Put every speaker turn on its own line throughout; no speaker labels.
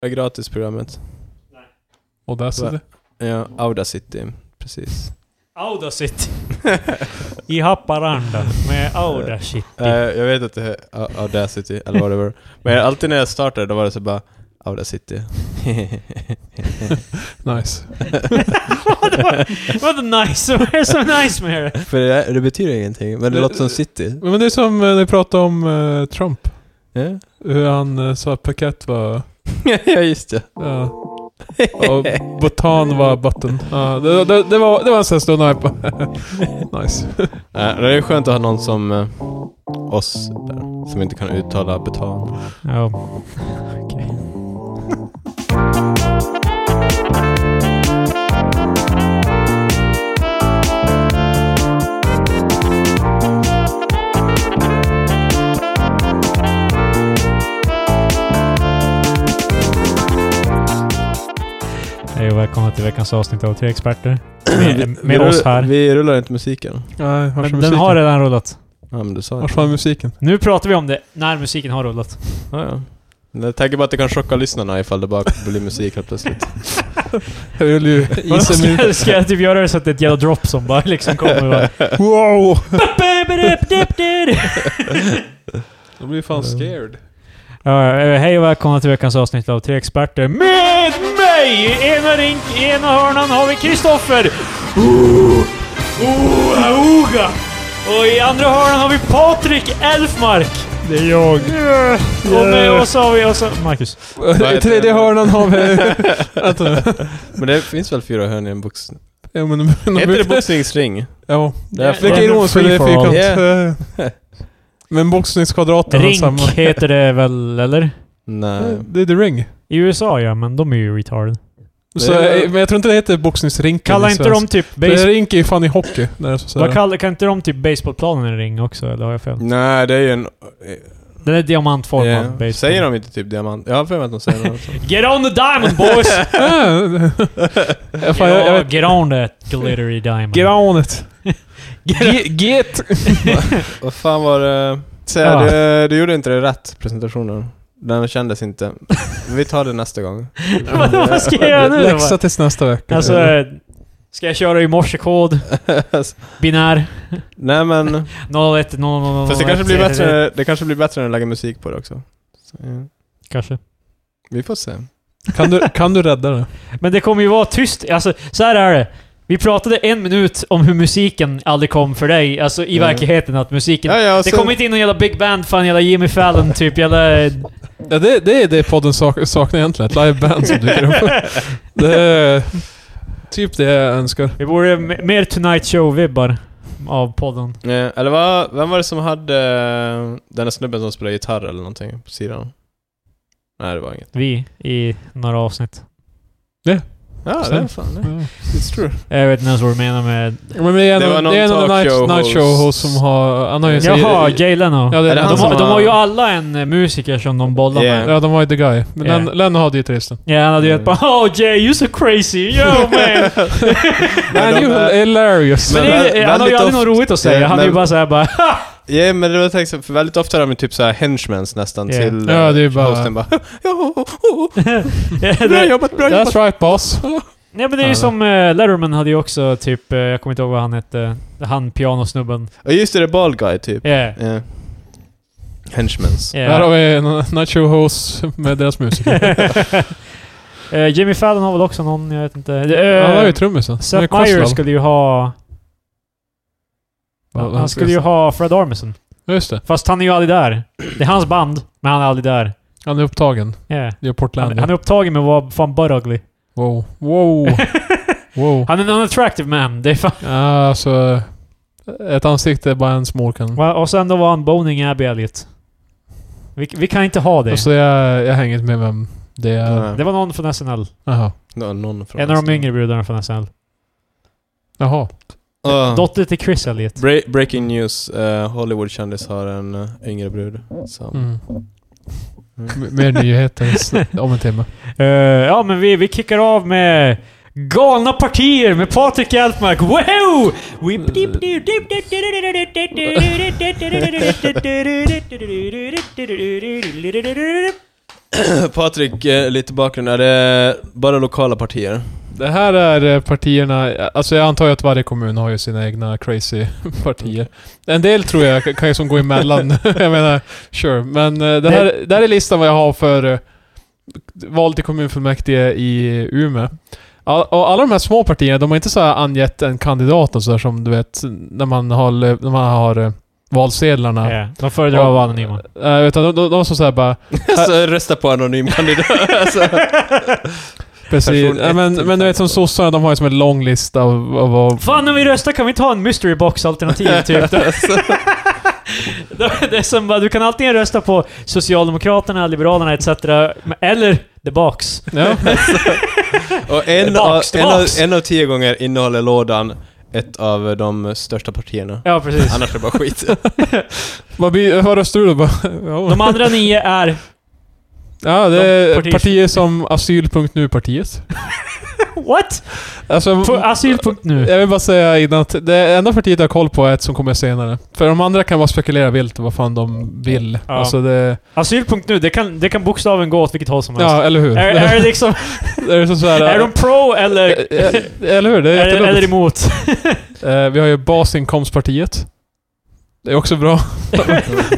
Det är gratisprogrammet.
Audacity.
Ja, Audacity. Precis.
Audacity. I Haparanda med Audacity.
Eh, jag vet att det är A- Audacity, eller whatever. Men alltid när jag startade, då var det så bara Audacity.
Nice.
Vad var- Vad är nice? Vad är så nice med det?
För det, det betyder ingenting, men det låter som city.
Men det är som eh, när vi pratade om eh, Trump.
Ja,
Hur han eh, sa att paket var...
ja just det.
Ja. Och botan var button. Ja, det, det, det, var, det var en sån stund när jag bara... Nice.
Eh, det är skönt att ha någon som eh, oss där, som inte kan uttala betal.
Ja. Hej och välkomna till veckans avsnitt av Tre Experter. Med, med
vi
oss
rullar-
här.
Vi rullar inte musiken.
Nej, vars är
Men den
musiken?
har redan rullat.
Ja, men du sa det.
Vars var musiken?
Nu pratar vi om det när musiken har rullat.
Ja, ja. Men Jag tänker bara att det kan chocka lyssnarna ifall det bara blir musik helt plötsligt.
Jag vill ju isa min...
ska, ska jag typ göra det så att det är ett jävla drop som bara liksom kommer? Bara.
Wow! Jag blir
Mm.
fan scared.
Ja, eh, hej och välkomna till veckans avsnitt av Tre Experter med mig! I ena, rink, i ena hörnan har vi Kristoffer! Ooh, ooga. Och i andra hörnan har vi Patrik Elfmark! Det är jag. Och med oss har vi också Marcus.
I tredje hörnan har vi... Vänta.
Men det finns väl fyra hörn i en boxning?
Ja, men... men-
Heter det boxningsring?
Ja.
Det är
Vilka ironiskt för det är
Free for all.
fyrkant. Eh, Men boxningskvadraten har samma...
Rink heter det väl, eller?
Nej.
Det är the ring.
I USA ja, men de är ju retarded.
Så,
Det är-
eh, men jag tror inte det heter boxningsrinken
Kallar
i
inte
svensk.
de typ
Det är
base...
rink är ju fan i hockey. När det är så, så
Vad
här.
kallar, kan inte de typ baseballplanen en ring också, eller har jag
Mm.
fel?
Nej, det är ju en...
Den är diamantformad.
Ja.
baseball.
Säger de inte typ diamant? Jag har för mig att de säger något sånt.
Get on the diamond boys!
Ja, fan, jag, jag
ja,
vet.
get on that glittery diamond.
Get on it.
Get-
Get!
Vad fan var det... Säg,
Ja.
du, du gjorde inte det rätt, presentationen. Den kändes inte. Vi tar det nästa gång.
Vad- vad ska jag göra nu då?
Läxa tills nästa vecka.
Alltså, eh, ska jag köra i morsekod? Binär?
Nej men...
01, 00,
Fast det kanske blir bättre, det kanske blir bättre när du lägger musik på det också. Så, ja.
Kanske.
Vi får se.
kan, du, kan du rädda det?
Men det kommer ju vara tyst. Alltså, så här är det. Vi pratade en minut om hur musiken aldrig kom för dig, alltså i
Mm.
verkligheten, att musiken...
Ja, alltså- ja, och
Det
sen-
kom inte in någon jävla Big Band, fan jävla Jimmy Fallon typ, jävla...
Ja, det, det är det podden sak, saknar egentligen. Ett liveband som dyker upp. Det är typ det jag önskar.
Vi borde m- mer Tonight Show-vibbar av podden.
Eh, Eller vad, vem var det som hade eh, den där snubben som spelade gitarr eller någonting på sidan? Nej, det var inget.
Vi, i några avsnitt.
Ja, det är
Stämt.
fan det.
Ja.
It's true.
Jag vet inte ens vad du menar med...
Men det är
Det var
en,
någon
det är en av de
talkshow
night, night show
host.
host som har... Han har ju...
Jaha, Jay Leno.
ja, det,
Är det
de,
han
De,
som
har,
har,
de
har-
har ju alla en eh, musiker som de bollar
Yeah.
med.
ja, de har ju the guy. Men
Ja.
yeah. Lennon har gitarristen.
Ja, han hade ju ett bara Oh Jay, you're so crazy, yo man!
Man,
de eh,
you
är-
hilarious.
Men
Men
det, är-
vä-
han har ju
väldigt
aldrig något
ofta-
roligt att säga.
Ja,
Han är ju
men-
bara såhär bara
Ja, men det var tänkt så, för väldigt ofta är de ju typ såhär henchmans nästan
Yeah.
till
Ja,
eh,
det är bara-
hosten bara ja, oh, oh, bra
Ja, det-
jobbat, bra jobbat.
That's right boss.
Nej men det är ju
Ja.
som eh, Letterman hade ju också typ, eh, jag kommer inte ihåg vad han hette, han pianosnubben.
Ja, just det, det är bald guy typ.
Yeah.
Yeah. Henchmans.
Här har
Yeah.
vi en night show host med deras musik.
Eh, Jimmy Fallon har väl också någon, jag vet inte.
Han var
Uh,
ju trummisen.
Seth
Croswell.
Meyers skulle ju ha...
Ja,
Han skulle ju ha Fred Armisen.
Ja, Just det.
Fast han är ju aldrig där. Det är hans band, men han är aldrig där.
Han är upptagen.
Yeah.
Det är Portland.
Han, han är upptagen med att vara fan butt ugly.
Wow. Wow. wow.
Han är en unattractive man. Det är fan.
Ja, Alltså... Ett ansikte är bara en småkan.
Va, Och sen då var han boning Abby Elliot. Vi, vi kan inte ha det.
Alltså jag, jag hänger inte med vem det är.
Nej,
Det var någon från SNL.
Jaha.
det var någon från
En av de yngre brudarna från SNL.
Jaha.
Ah.
Dotter till Chris Elliot.
Bre- breaking news. eh, Hollywood-kändis har en eh, yngre brud. Som,
Mm. M- Mer nyheter s- om en timme.
Eh, ja, men vi, vi kickar av med Galna partier med Patrik Elfmark. Wow! We-
Patrik, eh, lite bakgrund. Är det bara lokala partier?
Det här är eh, partierna, alltså jag antar ju att varje kommun har ju sina egna crazy partier. En del tror jag kan ju som gå emellan, jag menar, sure. Men eh, det här, det här är listan vad jag har för eh, val till kommunfullmäktige i Umeå. All, och alla de här små partierna, de har inte så här angett en kandidat och sådär som du vet, när man har, när man har eh, valsedlarna.
Ja, De föredrar att vara anonyma.
Eh, utan de, de, de som såhär bara,
så rösta på anonym kandidat. alltså.
precis.
Person
Ja, men,
ett till
men du vet som sossarna, de har ju som en lång lista av, av, av
Fan, när vi röstar kan vi ta en mystery box-alternativ typ. det är som bara, du kan antingen rösta på Socialdemokraterna, Liberalerna etc. Eller the box.
Ja.
Och en, av,
Tillbaks,
en, av,
tillbaks.
en av tio gånger innehåller lådan ett av de största partierna.
Ja, precis.
Annars är det bara skit.
Vad, blir, vad röstar du då? Bara, ja.
De andra nio är...
ja, det
de
är
partier-
partier, som asyl.nu-partiet.
What?
Alltså,
På asyl.nu.
jag vill bara säga innan att det enda partiet jag har koll på är ett som kommer senare. För de andra kan bara spekulera vilt vad fan de vill.
Ja.
Alltså det...
Asyl.nu, det kan, det kan bokstaven gå åt vilket håll som helst.
Ja, eller hur?
Är, är, det liksom,
är det så så här,
är de pro eller,
eh, eller hur? Det är
eller, eller
jättedumt.
emot?
Eh, Vi har ju basinkomstpartiet. Det är också bra.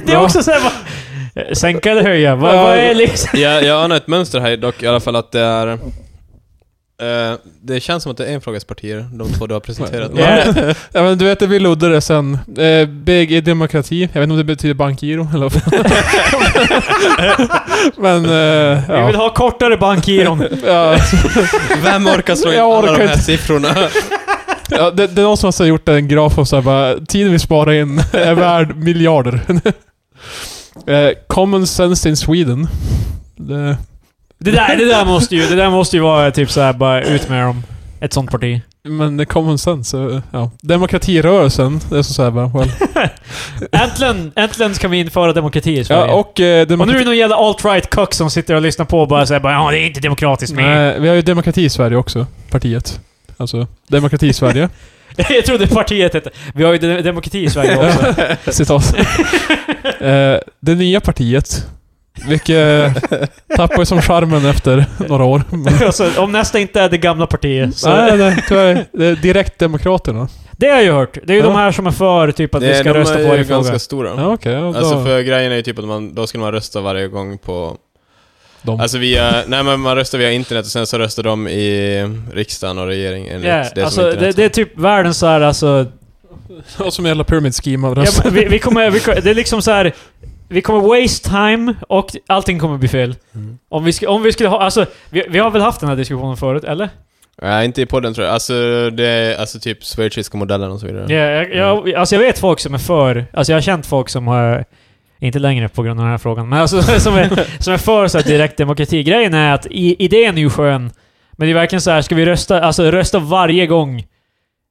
Det är också såhär bara... Sänka eller höja? Vad,
Ja.
vad är liksom...
jag, jag anar ett mönster här dock i alla fall att det är... eh, det känns som att det är enfrågespartier, de två du har presenterat.
Ja.
Ja, men du vet, vi luddade det sen. Eh, BG Demokrati. Jag vet inte om det betyder bankgiro eller vad. men... Eh,
Vi vill
ja.
ha kortare bankgiron.
Ja,
Vem orkar slå in
Jag
alla
orkar
de här
inte.
siffrorna?
ja, det, det är någon som har gjort en graf om så här, bara, tiden vi sparar in är värd miljarder. eh, common sense in Sweden. Det,
Det där, det där måste ju, det där måste ju vara typ såhär bara ut med dem. Ett sånt parti.
men det är common sense. eh, Ja. Demokratirörelsen, det är så här bara, well.
Äntligen, äntligen ska vi införa demokrati i Sverige.
ja, och, eh,
Och nu är
demokrati,
det någon jävla alt-right cuck som sitter och lyssnar på och bara säger bara ja, det är inte demokratiskt med.
nej, vi har ju Demokrati i Sverige också, partiet. Alltså, Demokrati i Sverige.
Jag trodde partiet hette... Vi har ju de- demokrati i Sverige också.
Citat. eh, det nya partiet. Vilket tappar ju som charmen efter några år. Men,
alltså, om nästa inte är det gamla partiet. Så.
nej, nej, tyvärr. Det är direktdemokraterna.
Det har jag ju hört. Det är ju de
Ja.
här som är för typ att vi ska
de
rösta på
är ju
varje fråga.
ganska stora.
Ja, okej. ja, då-
Alltså för grejen är ju typ att man, då skulle man rösta varje gång på...
de.
Alltså via, nej men man röstar via internet och sen så röstar de i riksdagen och regeringen enligt
Yeah,
det
alltså,
som
det,
internet
det är typ världens såhär alltså...
och som jävla pyramid scheme av
Ja,
resten.
men vi, vi kommer, vi, kommer- det är liksom så här. Vi kommer waste time och allting kommer bli fel.
Mm.
Om vi, ska, om vi skulle ha... Alltså, vi, vi har väl haft den här diskussionen förut, eller?
Nej, inte i podden tror jag. Alltså det är alltså typ schweiziska modellen och så vidare.
Ja, jag, jag, alltså jag vet folk som är för... Alltså jag har känt folk som har... Inte längre på grund av den här frågan, men alltså som är, som är för så här direktdemokrati. Grejen är att i, idén är ju skön, men det är verkligen så här, ska vi rösta, alltså rösta varje gång?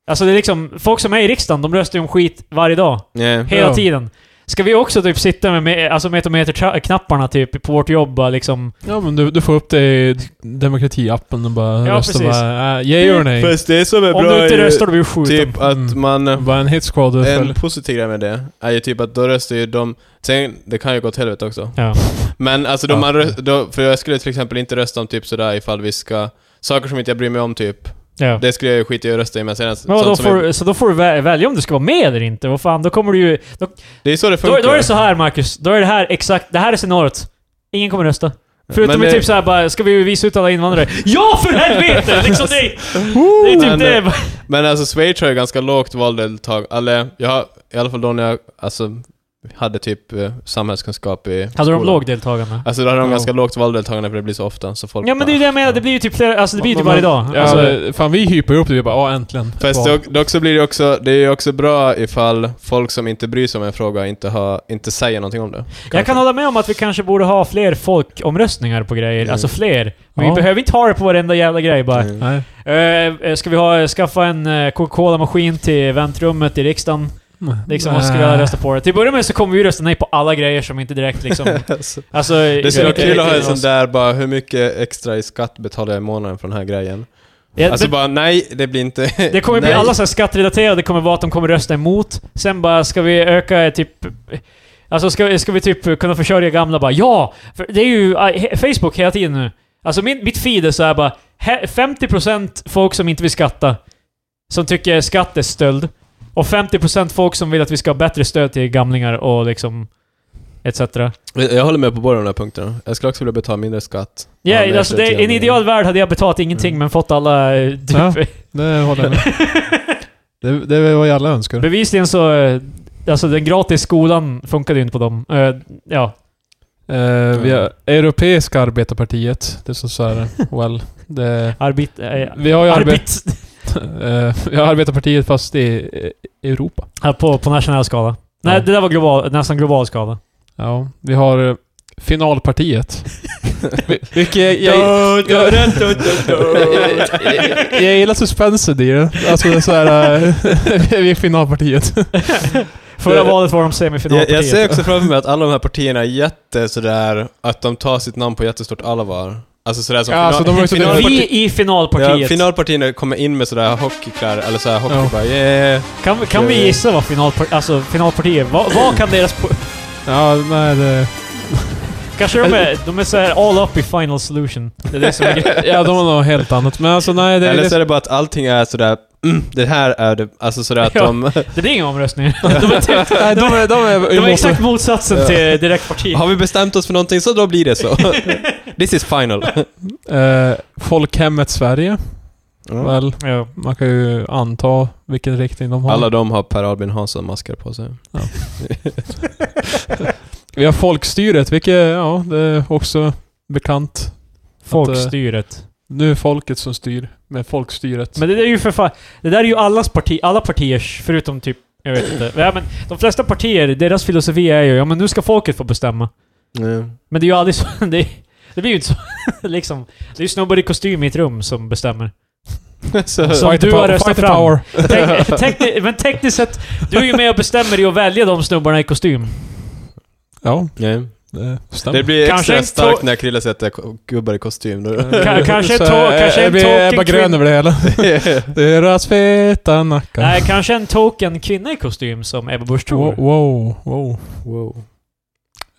Alltså det är liksom, folk som är i riksdagen, de röstar ju om skit varje dag.
Yeah.
Hela
Ja.
tiden. Ska vi också typ sitta med- med alltså metometerknapparna typ på vårt jobb bara liksom?
Ja, men du, du får upp det i demokratiappen och bara
Ja,
röstar
precis.
bara, äh, yay or nej.
Fast det som är
Om
bra
du inte
är ju
röstar då blir du skjuten.
typ att
Mm.
man...
Bara en hit squad.
En
En...
positiv grej med det är ju typ att då röstar ju de... Sen, det kan ju gå åt helvete också.
Ja.
Men alltså då
Ja.
man rö- då, För jag skulle till exempel inte rösta om typ sådär ifall vi ska... Saker som inte jag bryr mig om typ.
Ja.
Det skulle jag ju skita i att rösta i men sen...
Men då
sånt som
får,
jag-
du- Så då får du vä- välja om du ska vara med eller inte. Vad fan, då kommer du ju... Då,
Det är så det
då,
funkar.
då är det så här Marcus, då är det här exakt, det här är scenariot. Ingen kommer rösta. Förutom
Men
i
det-
typ såhär bara, ska vi visa ut alla invandrare? Ja för helvete! Liksom det, är- det är typ
Men,
det.
Men alltså Schweiz har ju ganska lågt valdeltag. Eller, jag har, i alla fall då när jag alltså, hade typ eh, samhällskunskap i
Hade de
skolan.
låg deltagande?
Alltså då hade de
Ja.
ganska lågt valdeltagande för det blir så ofta så folk
Ja men det är ju det jag menar, det blir ju typ flera, alltså det blir ju typ varje dag.
Ja,
Alltså,
men fan, vi hyper upp det. Vi bara, ja äntligen.
Fast dock, dock så blir det också, det är ju också bra ifall folk som inte bryr sig om en fråga inte, har, inte säger någonting om det.
Jag kan hålla med om att vi kanske borde ha fler folkomröstningar på grejer.
Mm.
Alltså fler. Men
Ja.
vi behöver inte ha det på varenda jävla grej bara.
Mm.
Nej.
Eh, eh, ska vi ha, skaffa en eh, Coca-Cola-maskin till väntrummet i riksdagen? Liksom,
Äh.
och ska jag
Nej.
rösta på det? Till att börja med så kommer vi rösta nej på alla grejer som inte direkt liksom...
Alltså,
alltså, eh,
Det skulle vara
Jag-
kul att ha en
jag-
sån där bara, hur mycket extra i skatt betalar jag i månaden för den här grejen?
Ja,
Alltså
det,
bara, nej, det blir inte...
det kommer bli
nej.
alla så här skattrelaterade, det kommer vara att de kommer rösta emot. Sen bara, ska vi öka eh, typ... Alltså ska, ska vi typ kunna försörja gamla bara ja! För det är ju eh, he- Facebook hela tiden nu. Alltså min, mitt feed är såhär bara he- 50% folk som inte vill skatta. Som tycker skatt är stöld. Och 50% folk som vill att vi ska ha bättre stöd till gamlingar och liksom... Etc. Ja,
Jag jag håller med på båda de här punkterna. Jag skulle också vilja betala mindre skatt. Ja,
yeah,
men
alltså
jag
det,
tror
i en
inte
ideal värld hade jag betalat ingenting
Mm.
men fått alla... eh, Typ,
Ja. Det håller jag med. Det, det är vad alla önskar.
Bevisligen så... eh, Alltså den gratis skolan funkade ju inte på dem. Eh, ja.
Eh, vi har Europeiska arbetarpartiet. Det är så, så här, well. Det,
Arbit... eh,
Mm.
vi har ju arbet,
arbit...
eh, vi har arbetarpartiet fast i eh, Europa.
Ja, på, på nationell skala. Nej,
Ja.
det där var global, nästan global skala.
Ja, vi har eh, finalpartiet. Vi- Vilket jag, jag, jag, jag gillar suspensen i det. Alltså det är såhär... eh, vi är finalpartiet.
Förra
Det-
valet var de
Jag,
semifinalpartiet.
Eh, jag ser också framför mig att alla de här partierna är jätte sådär, att de tar sitt namn på jättestort allvar. Alltså sådär som
Ja, alltså de har också-
finalparti-
Vi i finalpartiet.
Ja, finalpartierna kommer in med sådär hockeykläder, eller såhär hockey
Ja.
bara yeah.
kan, kan vi gissa vad finalpartiet... Alltså finalpartiet... Vad, vad kan deras... po-
Ja, nej det...
Kanske de är, de är såhär all up i final solution. Det är det som är grejen.
Ja, de har något helt annat. Men alltså nej, det...
Eller så är
det
det bara att allting är sådär, mm, det här är det, alltså sådär att
Ja.
de...
Det blir inga omröstningar. De är, typ,
nej, de är... De är,
de är
emot-
exakt motsatsen
Ja.
till direktpartiet.
Har vi bestämt oss för någonting så då blir det så. This is final.
Eh, Folkhemmet Sverige. Väl,
Ja.
man kan ju anta vilken riktning de har.
Alla de har Per Albin Hansson-masker på sig.
Vi har folkstyret, vilket ja, det är också bekant. eh,
Folkstyret.
Nu är folket som styr med folkstyret.
Men det där är ju för fan... Det där är ju allas parti, alla partiers, förutom typ... Jag vet inte. Ja, men de flesta partier, deras filosofi är ju ja men nu ska folket få bestämma. Men det är ju aldrig så... Det, det blir ju inte så. liksom, det är ju snubbar i kostym i ett rum som bestämmer.
så,
som
Fight
du
the
har
pow-
röstat
fight the
fram.
power.
Tek, tekni, men tekniskt sett, du är ju med och bestämmer i att välja de snubbarna i kostym.
Ja,
nej.
det stämmer.
Det blir
Kanske
extra
en
starkt
tå-
när Krille sätter ko- gubbar i kostym. Då.
Ka- kanske en
Eh, Så eh,
tå- kanske en
jag blir
tråkig
bara grön
kvinn-
över det hela. Deras feta nackar.
Nej, kanske en token kvinna i kostym som Ebba Busch tror.
Wow, wow. wow.
wow.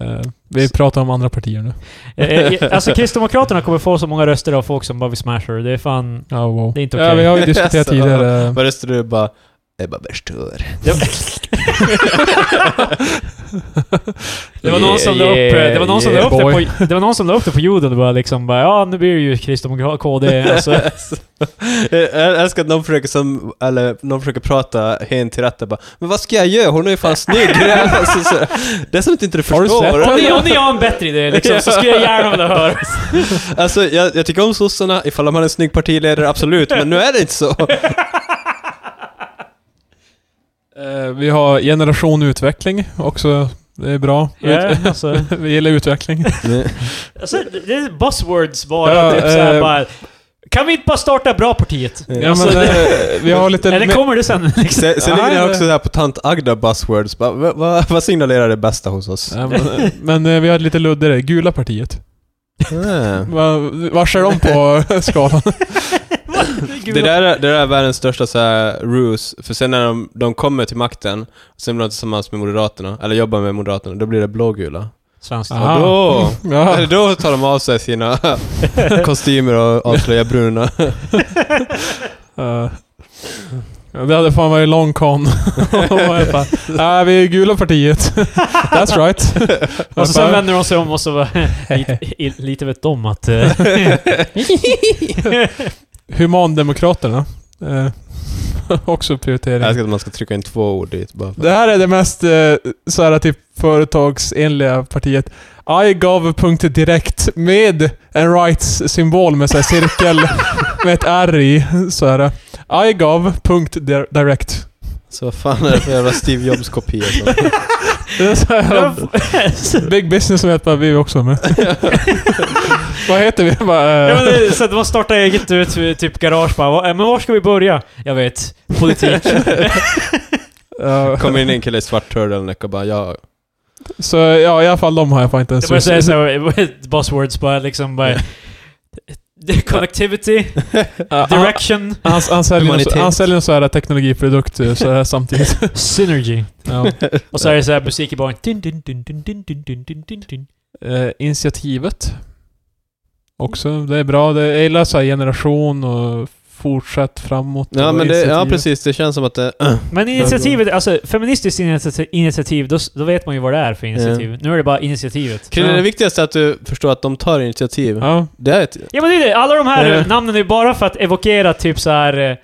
Eh, vi pratar om andra partier nu.
Eh, eh, Alltså Kristdemokraterna kommer få så många röster av folk som bara vill smasha det. Det är fan...
Ja, wow.
Det är inte
Ja,
okej.
vi har ju diskuterat
Alltså.
tidigare.
Vad röstar du bara? Ebba Busch Thor.
Det var någon som la upp, det var någon som la upp det på, det var någon som la upp det på jorden och bara liksom bara, ja nu blir det ju Kristdemokrat KD alltså.
jag älskar att någon försöker, som, eller, någon försöker prata hen till rätta bara Men vad ska jag göra? Hon är ju fan snygg! alltså, så, det är som att inte du
Har du sett
förstår.
Om ni, om ni har en bättre idé liksom, så skulle jag gärna vilja höra.
Alltså jag, jag tycker om sossarna, ifall de hade en snygg partiledare, absolut. Men nu är det inte så.
Eh, vi har generation utveckling också. Det är bra.
Ja, alltså,
vi gillar utveckling.
alltså, det är buzzwords bara.
Ja,
typ, såhär,
eh,
bara kan vi inte bara starta bra partiet?
ja, men, eh, vi har lite...
Eller kommer det sen? Liksom?
Sen, sen ligger
Nej,
det
det-
också där på tant Agda buzzwords. Bara, va, va, vad signalerar det bästa hos oss?
Ja, men, eh, men eh, vi har lite luddigare. Gula partiet.
Ah.
Va- Vad ser de på skalan?
Det där, är- det där är världens största så här, ruse, för sen när de, de kommer till makten, sen blir de tillsammans med Moderaterna, eller jobbar med Moderaterna, då blir det blågula.
Svenskt.
Ja.
Och då,
Ja.
eller då tar de av sig sina kostymer och avslöjar bruna.
Eh, ja, det hade fan varit long con. Och jag bara, Nej, vi är gula partiet. That's right.
Och så Alltså, sen
Bara-
vänder de sig om och så bara, lite, i- lite vet de att... eh,
Humandemokraterna. Eh, också prioritering.
Jag älskar att man ska trycka in två ord dit bara för.
Det här är det mest eh, så här, typ företagsenliga partiet. I gav punkter direkt med en rights-symbol med så här, cirkel med ett R i. Så här. I gav punkt dir- direkt.
Så vad fan är det för jävla Steve Jobs-kopia? som-
Det är så här, big business som vet vad vi är också med. vad heter vi? Bara,
Ja, men
eh,
det, är så att man startar eget ut, typ garage bara, "Va- men var ska vi börja? Jag vet, politik.
ja.
Kommer typ. in en kille i svart turtleneck och bara ja.
så ja, i alla fall de har jag fan inte ens
Det börjar säga såhär, buzzwords bara liksom bara... Connectivity,
Han,
direction,
han, han, säljer någon,
Humanitet.
han säljer så här teknologiprodukter så här samtidigt.
synergy.
Ja.
Och så är det så här musik i bakgrunden. Dun, dun, dun, dun, dun, dun, dun, dun, dun.
Eh, initiativet. Också. Det är bra. Det jag gillar så här generation och fortsätt framåt.
Ja,
och
men det, ja
initiativet.
precis. Det känns som att det...
Men initiativet, alltså feministiskt initiativ, initiativ då, s- då vet man ju vad det är för initiativ. Nu är det bara initiativet.
Krille,
Ja.
det viktigaste är att du förstår att de tar initiativ.
Ja.
Det är ett...
Ja men det är det, alla de här
Ja.
eh, namnen är bara för att evokera typ så här eh,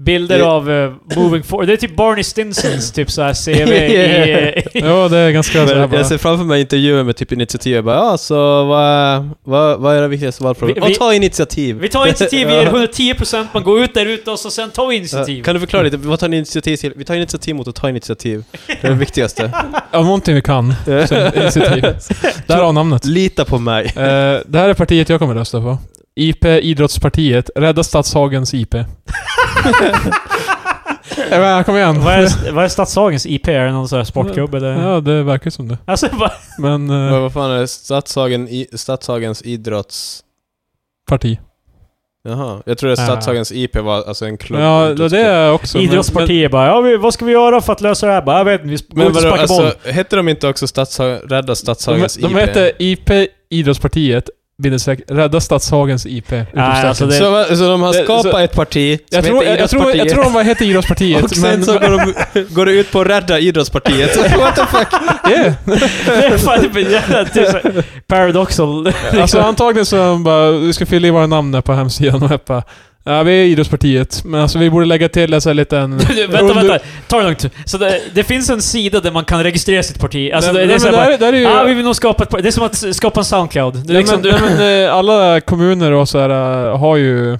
bilder
Det-
av eh, moving forward. Det är typ Barney Stinsons typ så här CV i... eh,
ja, det är ganska så här
Men
bara.
jag ser framför mig intervjuer med typ initiativ. Jag bara, ja, så vad, vad, vad är det viktigaste valfrågan?
Vi-
Ja,
vi-
ta initiativ!
Vi tar initiativ, vi
Ja.
ger 110%, man går ut där ute och så sen tar vi initiativ.
Ja, Kan du förklara lite? Vad tar ni initiativ till? Vi tar initiativ mot att ta initiativ. Det är det viktigaste.
Ja, någonting vi kan. Sen initiativ. Därav namnet.
Lita på mig.
Eh, det här är partiet jag kommer rösta på. IP Idrottspartiet. Rädda Stadshagens IP. Eh, men, kom igen.
Vad är, vad är Stadshagens IP? Är det någon sån här sportklubb eller?
Ja, det verkar som det.
Alltså bara...
Men...
Vad
Eh,
vad fan är det? Stadshagen, i, Stadshagens idrotts...
parti.
Jaha. Jag trodde
Ja.
Stadshagens IP var alltså en klubb.
Eh. Ja, det det är jag också. men-
Idrottspartiet bara ja, vi, vad ska vi göra för att lösa det här? Bara, jag vet inte, vi sp- går
Men
ut och
vadå,
sparkar boll.
alltså, hette de inte också Stadsha Rädda
men-
Stadshagens
de, de
IP?
heter IP Idrottspartiet. bindestreck, Rädda Stadshagens IP. utropstecken.
alltså det-
Så, va- så de har
Det-
skapat
så-
ett parti som
jag, tror,
heter
jag, jag, tror, jag
Idrottspartiet.
tror de bara heter Idrottspartiet.
och sen
men,
så går, de, går det ut på att rädda idrottspartiet. What the fuck?
yeah.
det är fan typ en jävla typ så här paradoxal...
Alltså antagligen så de bara, vi ska fylla i våra namn här på hemsidan och jag bara, ja vi är idrottspartiet, men alltså vi borde lägga till en sån här liten...
vänta, vänta. Ta det lugnt. Så det, det finns en sida där man kan registrera sitt parti. Alltså det, det är
Nej,
så
men
här bara,
där, där är ju...
ah, vi vill nog skapa ett parti. Det är som att s- skapa en Soundcloud. Det är
ja,
liksom,
men,
du,
ja, men, eh, alla kommuner och så här eh, har ju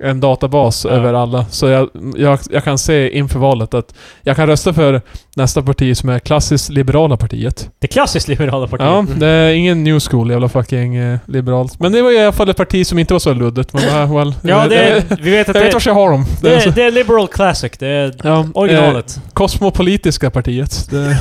en databas
Ja.
över alla, så jag, jag, jag kan se inför valet att jag kan rösta för nästa parti som är klassiskt liberala partiet.
det klassiskt liberala partiet.
Ja, det är ingen new school, jävla fucking eh, liberalt. Men det var ju i alla fall ett parti som inte var så luddigt. Man bara, well,
Ja,
eh,
det är, vi vet att
jag vet
det,
vart jag har dem. Det
det,
är
är-
så-
det är liberal classic. Det är
Ja, eh,
originalet.
Kosmopolitiska partiet. Det,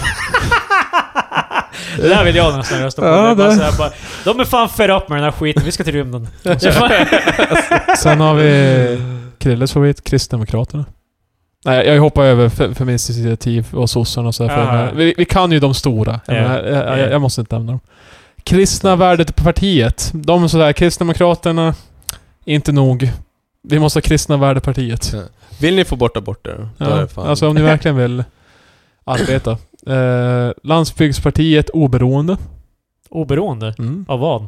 det där vill jag nästan rösta på.
Ja,
det är bara
det-
så här, bara, de är fan fed up med den här skiten. Vi ska till rymden. Det är fan-
sen har vi Krilles favorit, Kristdemokraterna. Nej, jag hoppar över fe- Feministiskt initiativ och sossarna och så här, för
Ah.
jag menar, vi, vi kan ju de stora. Jag,
Ja.
menar, jag, jag,
Ja.
jag måste inte nämna dem. Kristna värdet på partiet. De sådär, Kristdemokraterna, inte nog. Vi måste ha Kristna värdepartiet.
Vill ni få bort aborter? Då är
Ja,
det fan-
alltså om ni verkligen vill arbeta. Eh, landsbygdspartiet Oberoende.
Oberoende.
Mm.
Av vad?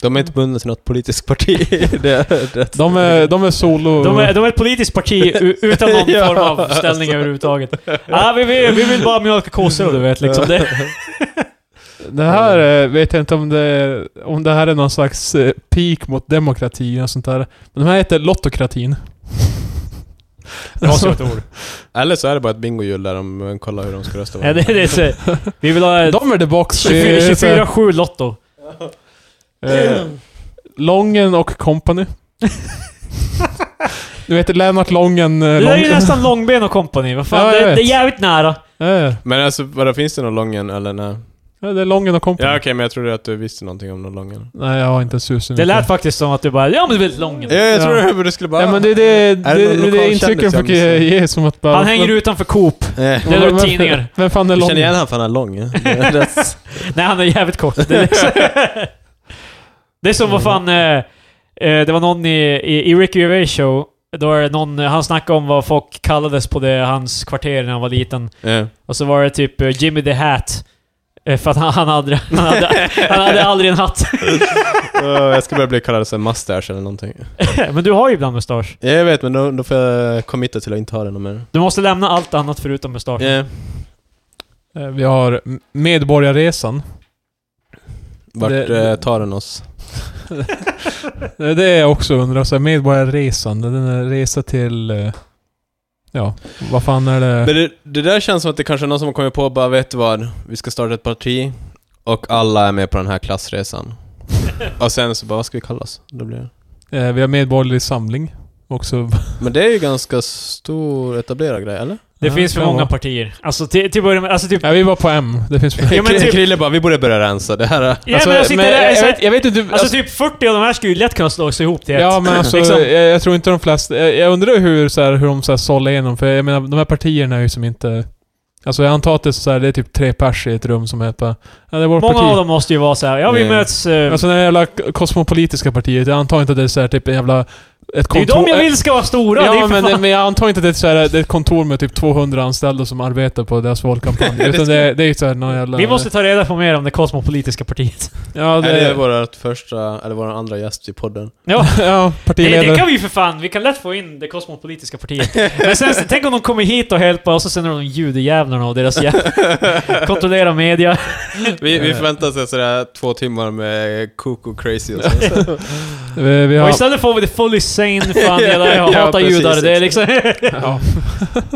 De är inte bundna till något politiskt parti. det, det.
De är, de är solo...
De är, de är ett politiskt parti u- utan någon
Ja,
form av ställning överhuvudtaget. Ah, vi, vill, vi vill bara mjölka kossor du vet liksom. Det,
Det här eh, vet jag inte om det, om det här är någon slags eh, peak mot demokrati och sånt där. Men de här heter Lottokratin.
Rasigt ord.
Eller så är det bara ett bingohjul där de eh, kollar hur de ska rösta.
Ja, det, det är så. Vi vill ha
de Eh, är tillbaka.
24 24-7 Lotto.
eh, Lången och Company. du vet Lennart Lången... Eh,
Det där är ju
Lången.
nästan Långben och kompani. Vad fan,
Ja, jag
det,
vet.
det är jävligt nära.
Eh,
Men alltså, vadå, finns det någon Lången eller nej?
ja, det är Lången och Company.
Ja okej, men jag trodde att du visste någonting om någon Lången.
Nej, jag har inte en susning.
Det lät faktiskt som att du bara ja men du vet
Ja,
Lången.
jag
Ja.
trodde att du skulle bara...
Ja men det är det,
Är det
det,
någon
det,
lokal
intrycket
kändis
jag försöker
jag missar?
ge som att bara...
Han hänger utanför Coop.
Eh,
Det är
Vem-
väl tidningar.
Vem fan är
jag känner
Lången?
igen han för han är lång. eh. Det- det-
Nej han är jävligt kort. Det är, liksom- det är som vad
Mm.
fan... Eh, eh, det var någon i, i, i Ricky Gervais show. Då är det någon, han snackade om vad folk kallades på det, hans kvarter när han var liten.
eh.
Och så var det typ eh, Jimmy the Hat. Eh, För att han, han, hade, han, hade, han hade aldrig en hatt.
Åh, Jag ska börja bli kallad en mustache eller någonting.
Men du har ju ibland mustasch.
Ja, Jag vet, men då, då får jag committa till att inte ha den någon mer.
Du måste lämna allt annat förutom mustasch.
Eh,
Eh, Vi har Medborgarresan.
Vart
Det-
eh, tar den oss?
Eh, Det är det jag också undrar. Så här, medborgarresan, den är resa till... eh, Ja, vad fan är det?
Men det, det där känns som att det kanske är någon som har kommit på bara, vet du vad? Vi ska starta ett parti och alla är med på den här klassresan. och sen så bara, vad ska vi kalla oss? Då blir det...
Eh, Vi har Medborgerlig Samling. också.
Men det är ju ganska stor etablerad grej, eller?
Det
Ja,
finns för
kan
många
vara.
partier. Alltså till, till början med, alltså typ...
Ja, vi var på M. Det finns fler. Alltså,
Ja, men typ-
Krille bara, vi borde börja rensa det här.
Ja, men jag sitter där,
jag, jag,
så här-
vet, jag vet inte... Alltså,
Alltså typ 40 av de här skulle ju lätt kunna slås ihop till
ja,
ett.
men alltså,
liksom.
jag, jag tror inte de flesta... Jag, jag undrar hur, så här, hur de så här, sållar igenom, för jag menar, de här partierna är ju som inte... Alltså jag antar att det är, så här, det är typ tre pers i ett rum som är på... Ja, det är vårt
Många
parti.
av dem måste ju vara så här. ja vi
Mm.
möts... eh,
Alltså det här jävla k- kosmopolitiska partiet, jag antar inte att det är så här, typ en jävla... Ett
det är ju
kontor-
de jag vill ska vara stora! det
Ja,
är ju för
men,
fan-
det, men jag antar inte att det är, så här, det är ett kontor med typ 200 anställda som arbetar på deras valkampanj. utan det, det är ju såhär någon jävla...
Vi måste ta reda på mer om det kosmopolitiska partiet.
Ja,
Ja,
det,
det är vårt första, eller vår andra gäst i podden.
Ja.
ja,
Det,
partiledare.
det kan vi ju för fan, vi kan lätt få in det kosmopolitiska partiet. Men sen, tänk om de kommer hit och hjälper och så sänder de judejävlarna och deras jävlar. Kontrollerar media.
Vi, vi förväntar oss sådär två timmar med koko crazy och sånt.
vi, vi
Och
har,
istället får vi det fully sane fan,
Ja,
jävlar, jag
ja,
hatar
precis,
judar. Det är liksom...
ja.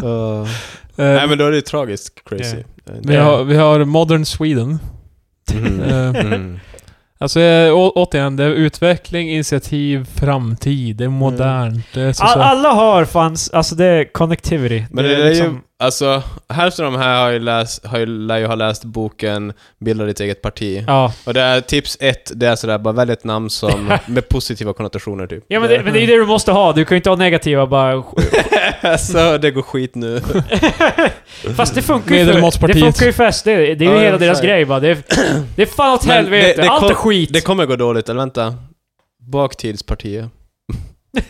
Uh,
Eh,
nej men då är det ju tragiskt crazy. Eh,
vi, har, vi har Modern Sweden.
Mm.
Eh,
Mm.
alltså eh, å, återigen, det är utveckling, initiativ, framtid. Det är modernt. Det är så,
All,
så, här-
alla har fans, alltså det är connectivity. liksom-
Men det, är ju, alltså, hälften av de här har ju läst, har ju, lär ju ha läst boken Bilda ditt eget parti.
Ja.
Och det är tips ett, det är sådär bara välj ett namn som, med positiva konnotationer typ.
Ja men det, men det är ju det du måste ha, du kan ju inte ha negativa bara...
alltså, det går skit nu.
Fast det funkar ju för, det
Medelmåttspartiet.
funkar ju för SD, det är ju
Ja,
hela
ja,
deras
exakt.
grej bara. Det är, det är fan åt
Men
helvete,
det- det
allt
kom-
är skit.
Det kommer gå dåligt, eller vänta. Baktidspartiet.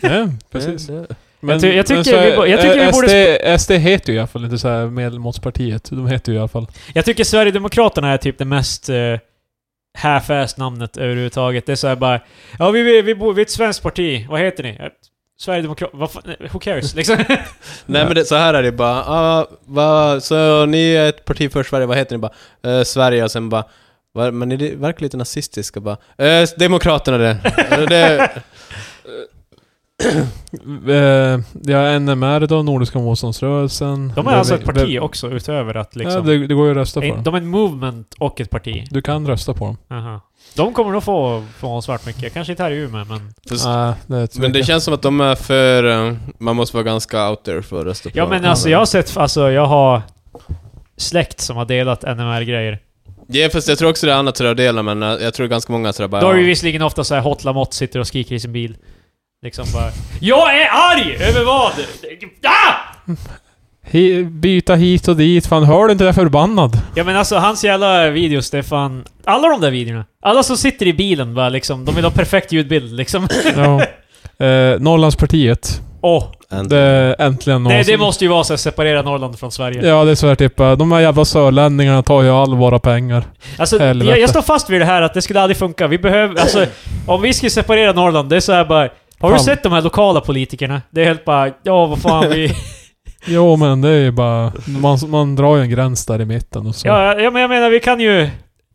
ja, precis.
Det- det-
Men,
ty- jag tycker
så här,
vi bo- jag tycker vi
eh,
borde
SD, SD heter ju i alla fall inte såhär medelmåttspartiet. De heter ju i alla fall...
Jag tycker Sverigedemokraterna är typ det mest uh, half-ass namnet överhuvudtaget. Det är såhär bara... Ja, vi, vi, vi, bor, vi är ett svenskt parti. Vad heter ni? Sverigedemokraterna? Who cares? Liksom.
Nej men det, så här är det bara, ah, va, så ni är ett parti för Sverige, vad heter ni bara? Eh, Sverige och sen bara, va, men är det verkligen lite nazistiska bara? Eh, Demokraterna det. Eh, det
Eh, ja, NMR då, Nordiska motståndsrörelsen.
De är
Ve-
alltså ett
ve-
parti också, utöver att liksom...
Ja, det, det går ju att rösta på
en,
dem.
de är en movement och ett parti.
Du kan rösta på dem.
Aha. De kommer nog få, få svart mycket. Kanske inte här i Umeå, men...
Fast-
Nej, det tror
Men
jag
det
inte.
känns som att de är för... eh, Man måste vara ganska out there för att rösta på
Ja, men alltså jag har sett... Alltså, jag har släkt som har delat NMR-grejer.
Ja, fast jag tror också det är annat sådär att dela, men eh, jag tror ganska många sådär bara...
Då är det ju
ja.
visserligen ofta så här hot lamott sitter och skriker i sin bil. Liksom bara... Jag är arg! Över vad? Ah!
Hi- byta hit och dit. Fan, hör du inte det är förbannad?
Ja men alltså hans jävla videos, det är fan... Alla de där videorna. Alla som sitter i bilen bara liksom, de vill ha perfekt ljudbild liksom.
ja. eh, Norrlandspartiet.
Åh!
Änt-
Det är äntligen någon
nej, det
som-
måste ju vara så här, separera Norrland från Sverige.
Ja, det är så här typ, eh, de här jävla sörlänningarna tar ju all våra pengar.
alltså,
helvete.
jag, jag står fast vid det här att det skulle aldrig funka. Vi behöver, alltså, om vi skulle separera Norrland, det är så här bara... Har du
Fan.
sett de här lokala politikerna? Det är helt bara, ja vad fan vi...
Jo, men det är ju bara... Man, man drar ju en gräns där i mitten och så.
ja, ja, men jag menar vi kan ju...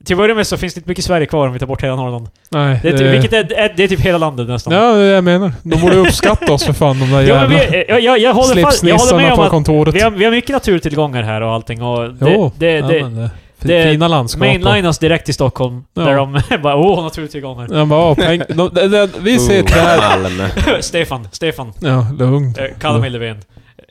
Till att börja med så finns det inte mycket Sverige kvar om vi tar bort hela Norrland.
Nej,
Det är,
eh,
typ, vilket är, är, det är typ hela landet nästan.
Ja, det är det jag menar. De borde uppskatta oss för fan, de där
Ja, men
jävla
vi, jag, jag, jag, håller fast, jag håller med
slipsnissarna
om
på
att
kontoret.
Vi har, vi har mycket naturtillgångar här och allting och det,
Jo,
det,
ja,
det,
men det, fi-
det-
fina landskap. och-
mainlinas direkt till Stockholm.
Ja.
Där de bara åh, naturtillgångar.
Ja, bara, åh, peng, de, de, de, vi ser
Oh,
träd.
Malm.
Stefan, Stefan,
Ja, lugnt.
eh, kalla mig Löfven.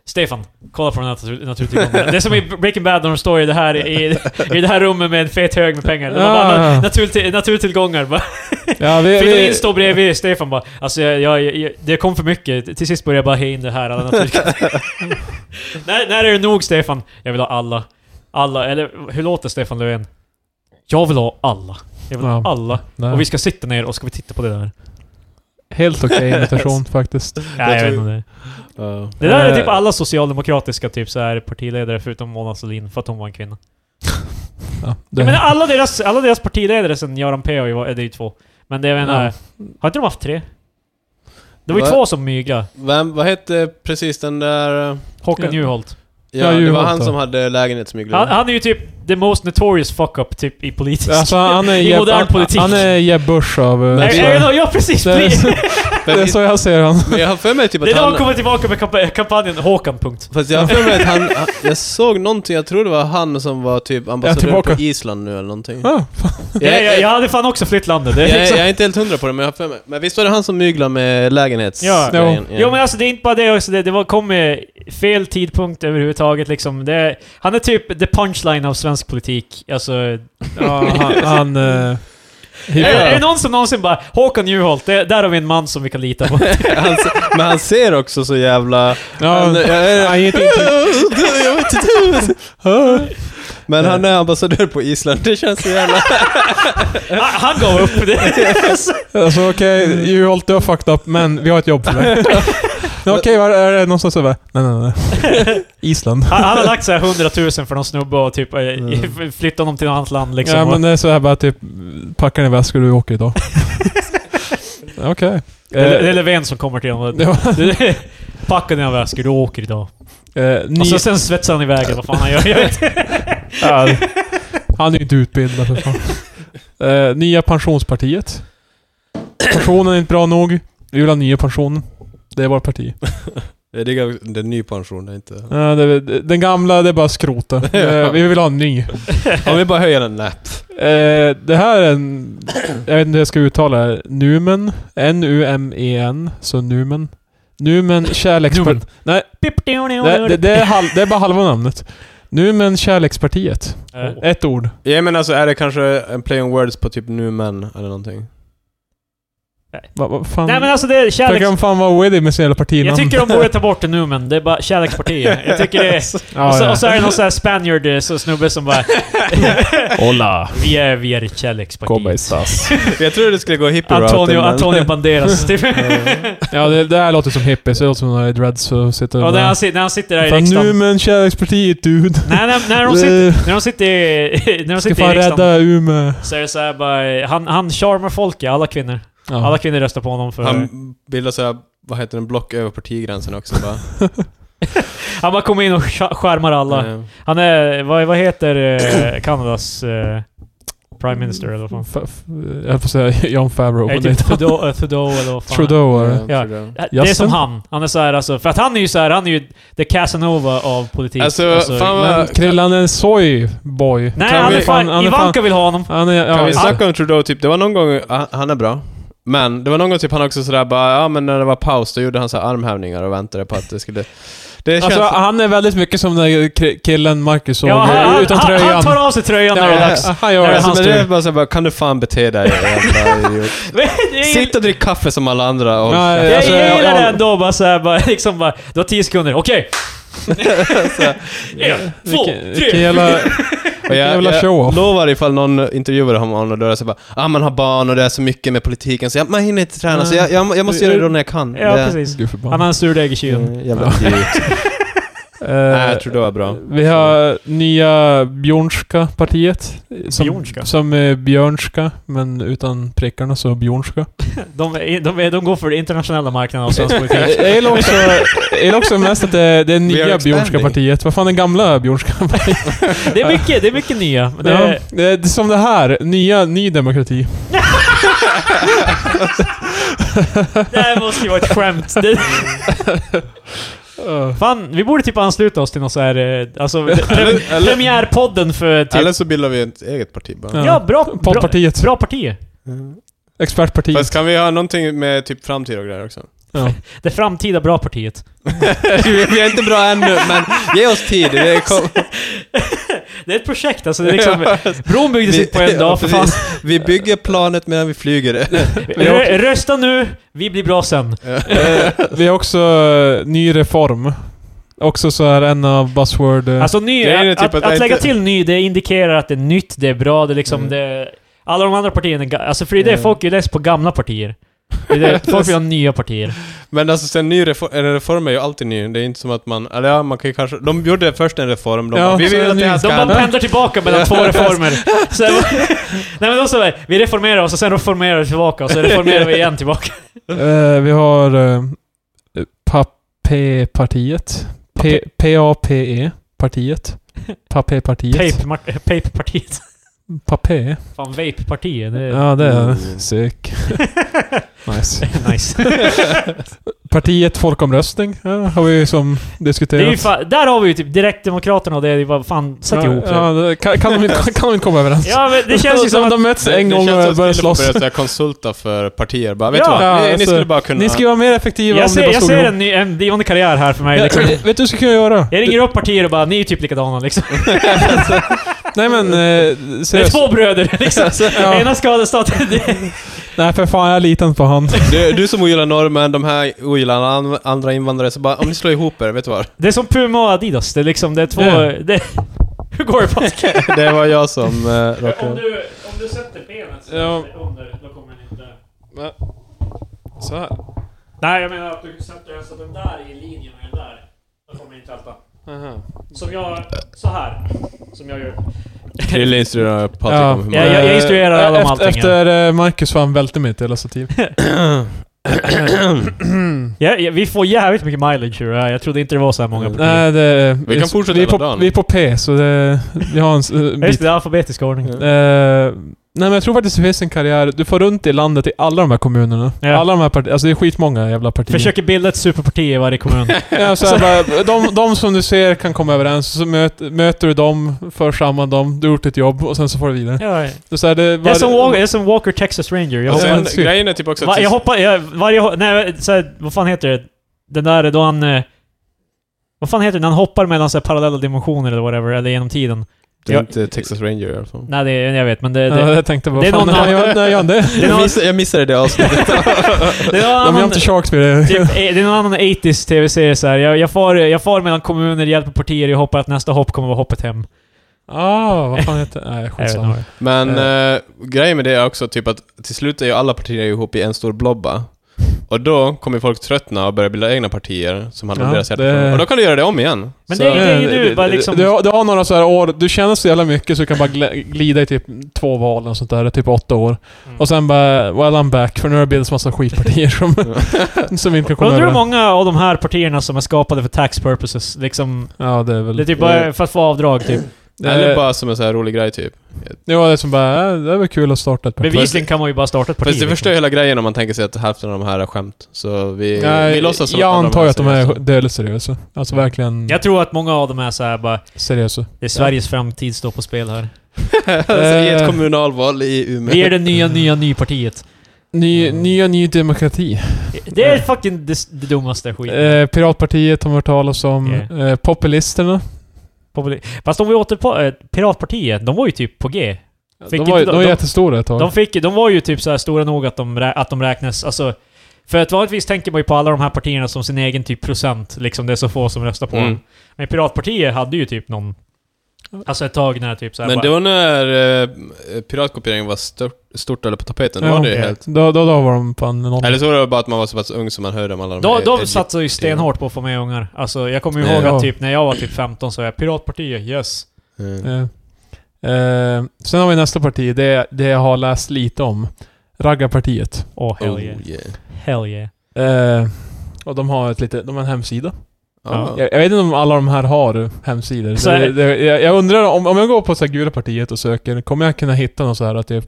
Stefan, kolla på den här natur- naturtillgången. Det är som i Breaking Bad när de står i det här, i, i det här rummet med en fet hög med pengar. De
Ja.
bara, naturtill, naturtillgångar. Bara.
Ah. Ja, vi,
Fridolin
vi,
står bredvid Stefan bara alltså jag, jag, jag, det kom för mycket. Till sist började jag bara ha in det här alla naturtillgångar. när, när är det nog Stefan? Jag vill ha alla. Alla, eller hur låter Stefan Löfven? Jag vill ha alla. Jag vill ha
Ja.
alla.
nej,
Och vi ska sitta ner och ska vi titta på det där.
Helt okej imitation faktiskt.
Nej, jag
tror-
vet inte. om det.
Ja.
Det där är
Eh.
typ alla socialdemokratiska typ så här partiledare förutom Mona Sahlin för att hon var en kvinna.
Ja, det,
Jag menar alla deras, alla deras partiledare sen Göran P har ju varit- det är ju två. Men det jag menar,
Ja.
har inte de haft tre? Det var ju
Va?
två som mygla.
Vem, vad hette precis den där... eh,
Håkan
Ja.
Juholt.
Ja,
Ja,
det var
Juholt
han
då.
som hade lägenhetsmygglare.
Han, han är ju typ the most notorious fuck-up typ i politisk...
alltså, han är
I
Jeb,
modern
han,
politik.
han är Jeb Bush av... eh,
Nej,
Nej,
Sverige.
nej, nej, ja precis!
Det är
please.
så- Det är så jag ser han.
Men jag har för mig typ
Det
att
är då han
han...
kommer tillbaka med kampa- kampanjen Håkan. Punkt.
Fast jag har för mig att han... han- Jag såg någonting, jag tror det var han som var typ ambassadör
tillbaka.
på Island nu eller någonting.
Ah,
Jag, jag, jag
jag,
hade fan också flytt landet. Det är
jag,
liksom...
är inte helt hundra på det, men jag har för mig. Men visst var det han som myglade med lägenhets...
Ja.
grejen? Ja.
Jo men alltså det är inte bara det också, det, det var, kom med fel tidpunkt överhuvudtaget liksom. Det, han är typ the punchline av svensk politik. Alltså,
ja, han... han eh,
är, är det
hippar.
någon som någonsin bara “Håkan Juholt, det, där har vi en man som vi kan lita på”.
Han se- men han ser också så jävla...
Ja,
han, eh, jag, är-
han ger inte
jag vet inte. men han är ambassadör på Island, det känns så jävla...
han, han gav upp. Det.
Alltså okej, Juholt du har fucked up, men vi har ett jobb för dig. Ja, okej, var är det någonstans över? Nej, nej, nej. Island.
Han, han har lagt så här 100 000 för någon snubbe och typ mm.
Mm.
flyttat honom till något annat land liksom.
Ja men det är så här bara typ, packa ner väskor du åker idag. Okej.
det, är- det är Löfven som kommer till honom.
eh, Det var-
Du- Packa dina väskor, du åker idag.
Eh, ni,
Och så sen svetsar han iväg eller vad fan han gör. Jag vet.
Ja, det- han är ju inte utbildad för fan. Eh, nya pensionspartiet. Pensionen är inte bra nog. Vi vill ha nya pensionen. Det är vårt parti.
Jag diggar det är ny pension, det är inte...
Eh, det, den gamla, det är bara skrota. Eh, vi vill ha en ny.
Om vi bara höjer den, nej.
Eh, det här är en... Jag vet inte hur jag ska uttala det. här. Numen. N-U-M-E-N. E Så Numen. Numen
Numen.
kärlekspartiet. Nej,
Pip, diu, diu,
det, det,
diu.
det, är halv, det är bara halva namnet. Numen kärlekspartiet.
Eh,
Ett ord.
Jag menar alltså, är det kanske en play on words på typ nu men eller någonting?
Vad va, fan?
Nej men alltså det är
Tänk
kärleks...
om fan vara witty med sin jävla partinamn.
Jag tycker de borde ta bort det nu men det är bara kärlekspartiet. Jag tycker det är...
Ja,
Och så,
ja.
och så är det någon sån här spaniard eh, så snubbe som bara...
Hola.
Vi är, vi är ett kärleksparti.
estas?
Jag tror det skulle gå hippie
Typ
Antonio, Antonio Banderas typ.
ja, det, det här låter som hippies. Det låter som några dreads och sitter
Och när
bara...
han, sit- när han sitter där i
Fan nu
riksdagen...
men kärlekspartiet dude. Eh,
Nej, när, när, de sitter, när de sitter i, när de
Ska
sitter
fan
i riksdagen
rädda Umeå.
så är det så här bara... Han, han charmar folket, alla kvinnor.
Ja.
Alla kvinnor röstar på honom för... Han,
Han bildar såhär, vad heter den, block över partigränsen också bara.
bara kommer in och scha- skärmar alla.
Eh,
Han är... Vad, vad heter eh, Kanadas... Eh, Prime Minister eller vad
F-
fan?
f- jag höll på att säga John Favreau.
Nej,
men det är
typ
inte han.
Trudeau, eh, Trudeau eller vad fan.
Trudeau är det.
eh,
Ja.
Trudeau.
Det är
Justin?
som han. Han är så här alltså, för att han är ju så här, han är ju the Casanova av politik.
Alltså, fan vad-
Men Krillan är en soy boy.
Nej,
kan
han
vi-
är fan,
fan- han är
Ivanka
fan-
vill ha honom.
Han är... Ja,
Kan vi
ja.
snacka om Trudeau typ, det var någon gång, ah, han är bra. Men det var någon gång typ han också sådär bara, ja men när det var paus då gjorde han så här armhävningar och väntade på att det skulle... Det känns...
Alltså, han är väldigt mycket som den där ki- killen Marcus såg.
Ja, han,
utan
han,
tröjan.
han tar av sig tröjan när det är
Ja,
dags.
Han gör
När
det.
är
alltså,
Han
hans
men det är
tur.
bara såhär bara, kan du fan bete dig jävla idiot.
Men jag gill-
Sitt och drick kaffe som alla andra och...
Nej,
Jag
alltså, jag-
gillar
jag-
det ändå, bara såhär bara liksom bara, du har 10 sekunder, okej! En, två,
Vilken- vilken
tre!
jävla...
Och jag,
jävla
jag
show-off.
lovar ifall någon intervjuar honom och då säger bara ah, man har barn och det är så mycket med politiken så jag, man hinner inte träna så jag, jag, jag måste göra det då när jag kan.
Ja,
det,
precis.
Gud
Han har
förbannat.
en surdeg i kylen.
Mm, Jävla idiot.
Eh,
Nej, jag tror det var bra.
Vi har nya Björnska-partiet. Som,
Björnska?
Som är Björnska, men utan prickarna så Björnska.
De, är- de, är- de går för den internationella marknaden av svensk
Jag
politik.
jag gillar också, jag gillar också mest att det är det är
We are
nya
expanding.
Björnska-partiet. Vad fan är gamla Björnska?
Det är mycket, det är mycket nya. men Det
Ja,
är,
det är som det här. Nya Ny Demokrati.
Det här måste ju vara ett skämt. Det, fan, vi borde typ ansluta oss till någon så här, eh, alltså, pre,
Eller- eller-
premiärpodden för typ...
Eller så bildar vi ett eget parti bara.
ja, bra, bra,
Poddpartiet.
bra parti.
Expertpartiet.
Fast kan vi ha någonting med typ framtid och grejer också?
Ja.
Det framtida bra partiet.
vi är inte bra ännu men ge oss tid. Det kom...
Det är ett projekt alltså. Det är liksom, bron byggdes inte på en dag för fan.
precis. Vi bygger planet medan vi flyger det.
Rö, rösta nu, vi blir bra sen.
Vi har också eh, ny reform. Också så här en av buzzword... eh,
Alltså ny,
Grejen är
att,
typ
att,
att jag
lägga
inte-
till ny, det indikerar att det är nytt, det är bra, det är liksom
Mm.
det... Alla de andra partierna, är ga- alltså för det är det
Mm.
folk är less på gamla partier. Det är det, folk vill ha nya partier.
Men alltså sen ny reform, eller reform är ju alltid ny. Det är inte som att man, eller ja man kan ju kanske, de gjorde först en reform, de
Ja,
bara, vi
så
vill att det här
ny-
ska...
De bara pendlar tillbaka mellan två reformer. Så, nej men de sa väl, vi reformerar oss och sen reformerar vi tillbaka och så reformerar vi igen tillbaka.
Eh, vi har eh, Papé-partiet. P- E. P-A-P-E-partiet. Papé-partiet.
Pape-partiet.
Papé?
Fan, vape-partier. Det är...
Ja, det är
Mm.
sick. Nice.
nice.
Partiet folkomröstning ja, har vi ju som
det
diskuterat.
är ju fa- där har vi ju typ Direktdemokraterna och det. det är bara, fan, sätt
ja,
ihop det.
ja, det. Kan, kan, de inte, kan de inte komma överens?
Ja, men det känns ju som att...
de möts en
det
gång
känns
och
som
börjar
att Filip
slåss.
börjar konsulta för partier. Bara, vet
Ja,
du vad? Ni, ni
alltså,
skulle bara kunna...
Ni skulle vara mer effektiva
Jag
om ni
ser,
bara
jag
slog
ser
ihop.
en, ny, en blivande karriär här för mig.
Ja,
Liksom.
vet du vad du skulle kunna göra?
Jag ringer upp partier och bara, ni är ju typ likadana liksom.
Nej men... Eh,
Det är
seriöst.
två bröder liksom.
Ja.
Ena skadestaten. det-
Nej för fan, jag litar inte på han.
Du, du som ogillar norrmän, de här ogillar an- andra invandrare, så bara om ni slår ihop er, vet du vad?
Det är som Puma och Adidas. Det är liksom, det är två...
Ja.
Det, hur går det på?
Det var jag som eh, råkade...
du, om du sätter benet
så Ja.
under, då kommer den inte...
Så här.
Nej, jag menar att du sätter alltså den där i linje med den där. Då kommer inte älta. Som jag... Så här. Som jag gör.
Krille instruerar Patrik
Ja.
om hur man...
Ja, jag- jag instruerar alla om
efter,
allting, ja.
Efter eh, Marcus fan välte mitt hela stativ.
Ja, ja, vi får jävligt mycket mileage ur det här. Jag trodde inte det var så här
Mm.
många partier.
Nej, det,
Vi kan fortsätta
vi är på,
hela dagen.
Vi är på P, så det, vi har en s- eh,
Just
bit.
det, alfabetisk ordning.
Ja.
Eh, nej men jag tror faktiskt det finns en karriär. Du får runt i landet i alla de här kommunerna.
Ja.
Alla de här partierna. Alltså det är skitmånga jävla partier.
Försöker bilda ett superparti i varje kommun.
Ja, så här, bara, de, de som du ser kan komma överens, så möt, möter du dem, för samman dem, du har gjort ditt jobb och sen så får du vidare.
ja,
Det är så här, det,
jag, är som Walker,
var,
jag är som Walker Texas Ranger. Jag
Och
hoppar,
sen,
hoppas-
grejen är typ också
va,
att...
jag hoppar jag, varje, ho- nej, så här, vad fan heter det? Den där då han... eh, Vad fan heter det? När han hoppar mellan så här, parallella dimensioner eller whatever, eller genom tiden.
Det är
jag-
inte Texas Ranger i alla fall.
Nej, det, är- jag vet, men det...
ja,
det,
jag tänkte bara,
det är
fan,
någon
när gör- när gör han det?
det är
Jag,
någon,
missade, jag missade det avsnittet.
det är någon
De gör
annan...
inte Sharkspeare.
Typ, eh, det är någon annan 80s tv-serie såhär. Jag, jag, far, jag far mellan kommuner, hjälper partier, jag hoppas att nästa hopp kommer vara hoppet hem.
Ah, vad fan heter Nej, skitsamma.
inte.
Men eh, grejen med det är också typ att till slut är ju alla partier ihop i en stor blobba. Och då kommer folk tröttna och börja bilda egna partier som handlar om
Ja,
deras
det-
hjärtefrågor. Och då kan du göra det om igen.
Men
Så-
det är ju du, bara liksom-
du, har- du har några så här år, du känner så jävla mycket så du kan bara gl- glida i typ två val och sånt där, typ åtta år.
Mm.
Och sen bara, well I'm back, för nu har det bildats massa skitpartier som, som inte kan komma
Undrar hur
överens.
många av de här partierna som är skapade för tax purposes, liksom...
Ja, det är väl...
Det är typ bara för att få avdrag, typ.
Eh,
Eller bara som en sån här rolig grej typ.
Jo, det är som bara, äh, det är väl kul att starta ett parti.
Bevisligen kan man ju bara starta ett parti. liksom.
Fast det förstör hela grejen om man tänker sig att hälften av de här är skämt. Så vi, vi
Nej,
låtsas som
jag
alla
antar ju att de
seriösa.
är dödligt seriösa. Alltså verkligen
Jag tror att många av dem är så här bara,
seriösa.
det är Sveriges framtid står på spel här.
alltså, I ett
Eh.
kommunalval i Umeå.
Vi är det nya, nya, nypartiet.
Ny, Nya Ny Demokrati.
Det är fucking det, det dummaste skiten.
Eh, Piratpartiet har man hört talas om.
Yeah.
Eh, populisterna.
Populi- Fast om vi återpå... eh, Piratpartiet, de var ju typ på G.
De
Fick
var, ju-
inte-
de var
de-
jättestora ett tag.
De, fick, de var ju typ så här stora nog att de, rä- att de räknas, alltså... För att vanligtvis tänker man ju på alla de här partierna som sin egen typ procent, liksom det är så få som röstar på
Mm.
dem. Men Piratpartiet hade ju typ någon... Alltså ett tag när typ såhär
Men
bara,
det var när eh, piratkopiering var stort, stort eller på tapeten. Då
Ja.
var det ju
Ja.
helt...
då, då, då var de fan någon...
Eller så var det bara att man var så pass ung så man hörde om alla de
De,
här-
de satsade ju stenhårt på att få med ungar. Alltså jag kommer ju
Ja.
ihåg att typ när jag var typ 15 så var jag Piratpartiet, yes.
Mm.
Eh, eh, sen har vi nästa parti, det, det jag har läst lite om. Raggarpartiet.
Åh hell
Oh,
yeah.
yeah.
Hell yeah.
Eh, och de har ett lite, de har en hemsida.
Ja.
Jag, jag vet inte om alla de här har hemsidor.
Så
Så
är-
det, det, jag, jag undrar om, om jag går på så här gula partiet och söker, kommer jag kunna hitta något så här att typ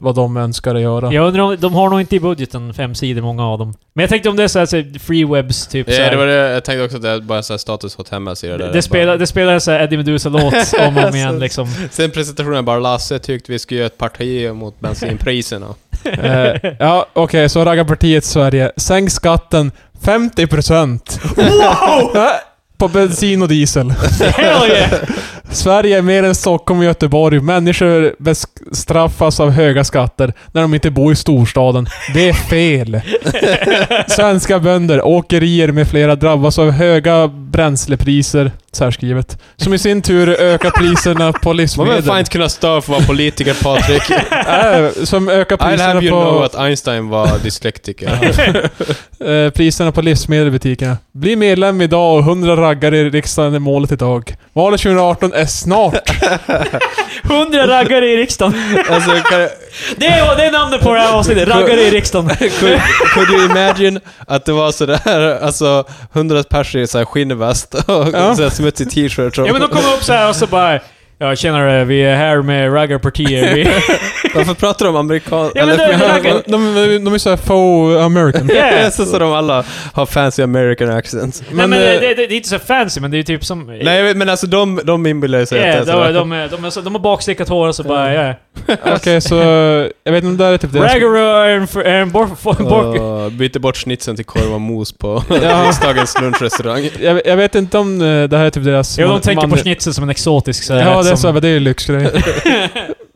vad de önskar att göra?
Jag undrar om, de har nog inte i budgeten fem sidor många av dem. Men jag tänkte om det är såhär, så free webs typ
Ja,
såhär.
det var det, jag tänkte också att det är bara så här status hot hemma så är det, där.
det, spelar, det spelar en såhär Eddie Meduza-låt om och om igen liksom.
Sen presentationen bara Lasse tyckte vi skulle göra ett parti mot bensinpriserna.
Eh, ja, okej, så raggarpartiet Sverige. Sänk skatten 50%! Wow! på bensin och diesel.
Hell yeah!
Sverige är mer än Stockholm och Göteborg. Människor bestraffas av höga skatter när de inte bor i storstaden. Det är fel! Svenska bönder, åkerier med flera drabbas av höga bränslepriser, särskrivet. Som i sin tur ökar
Man
priserna på
vill fan
livsmedel.
inte kunna stå för att vara politiker Patrik.
Äh, som ökar
I'll
priserna
have you know
på,
att Einstein var dyslektiker.
eh, priserna på livsmedel i butikerna. Bli medlem idag och 100 raggare i riksdagen är målet idag. Valet 2018 är snart!
Hundra raggare i riksdagen.
alltså, kan,
Det är, det är namnet på det här avsnittet. Raggare i riksdagen.
could, could you imagine att det var sådär, alltså 100 pers i så här skinnväst och
Ja.
så här smutsig t-shirt.
Ja men de kommer upp så här och så bara... Ja, tjenare, vi är här med raggarpartier. Vi...
Varför pratar de om amerikan...
Ja, men det- det-
De, de, de är såhär faux American.
det är
Yeah.
så som de alla har fancy American accents.
Nej, men
eh,
det, det, det är inte så fancy, men det är ju typ som...
Nej, jag vet, alltså, men alltså de, de inbillar sig
yeah,
att det är
de,
sådär.
de, är- de, är så- de har bakstickat hår och så bara... Yeah.
Okej, så... Jag vet inte om det där är typ deras...
Raggar är en... för- är en bor, for, bor,
Åh, byter bort snitsen till korv och mos på
Ja.
riksdagens lunchrestaurang.
Jag, jag vet inte om eh, det här är typ deras...
Jo, de
man-
tänker på
man-
schnitzel som en exotisk så här,
Ja, det är
som-
så, men det är ju lyxgrej.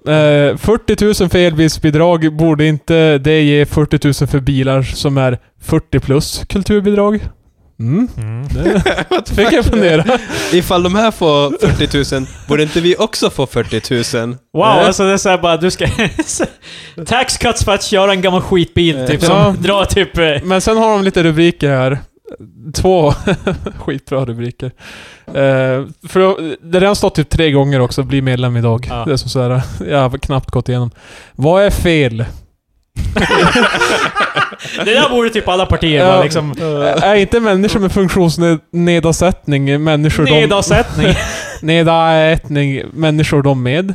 Eh, 40 000 för elbilsbidrag borde inte det ge 40 000 för bilar som är 40 plus kulturbidrag? Mm.
Mm.
Det fick jag fundera.
Ifall de här får 40 000, borde inte vi också få 40 000?
Wow,
Eh?
alltså det är såhär bara, du ska... tax cuts för att köra en gammal skitbil, typ, som
Ja.
drar typ... eh,
Men sen har de lite rubriker här. Två skitbra rubriker. Eh, för det- det har redan stått typ tre gånger också, bli medlem idag.
Ja.
Det är som så här, jag har knappt gått igenom. Vad är fel?
Det där borde typ alla partier
Ja.
bara liksom...
Ä- Äh, Är inte människor med funktionsnedsättning människor de...
Nedavsättning.
Nedsättning människor de med?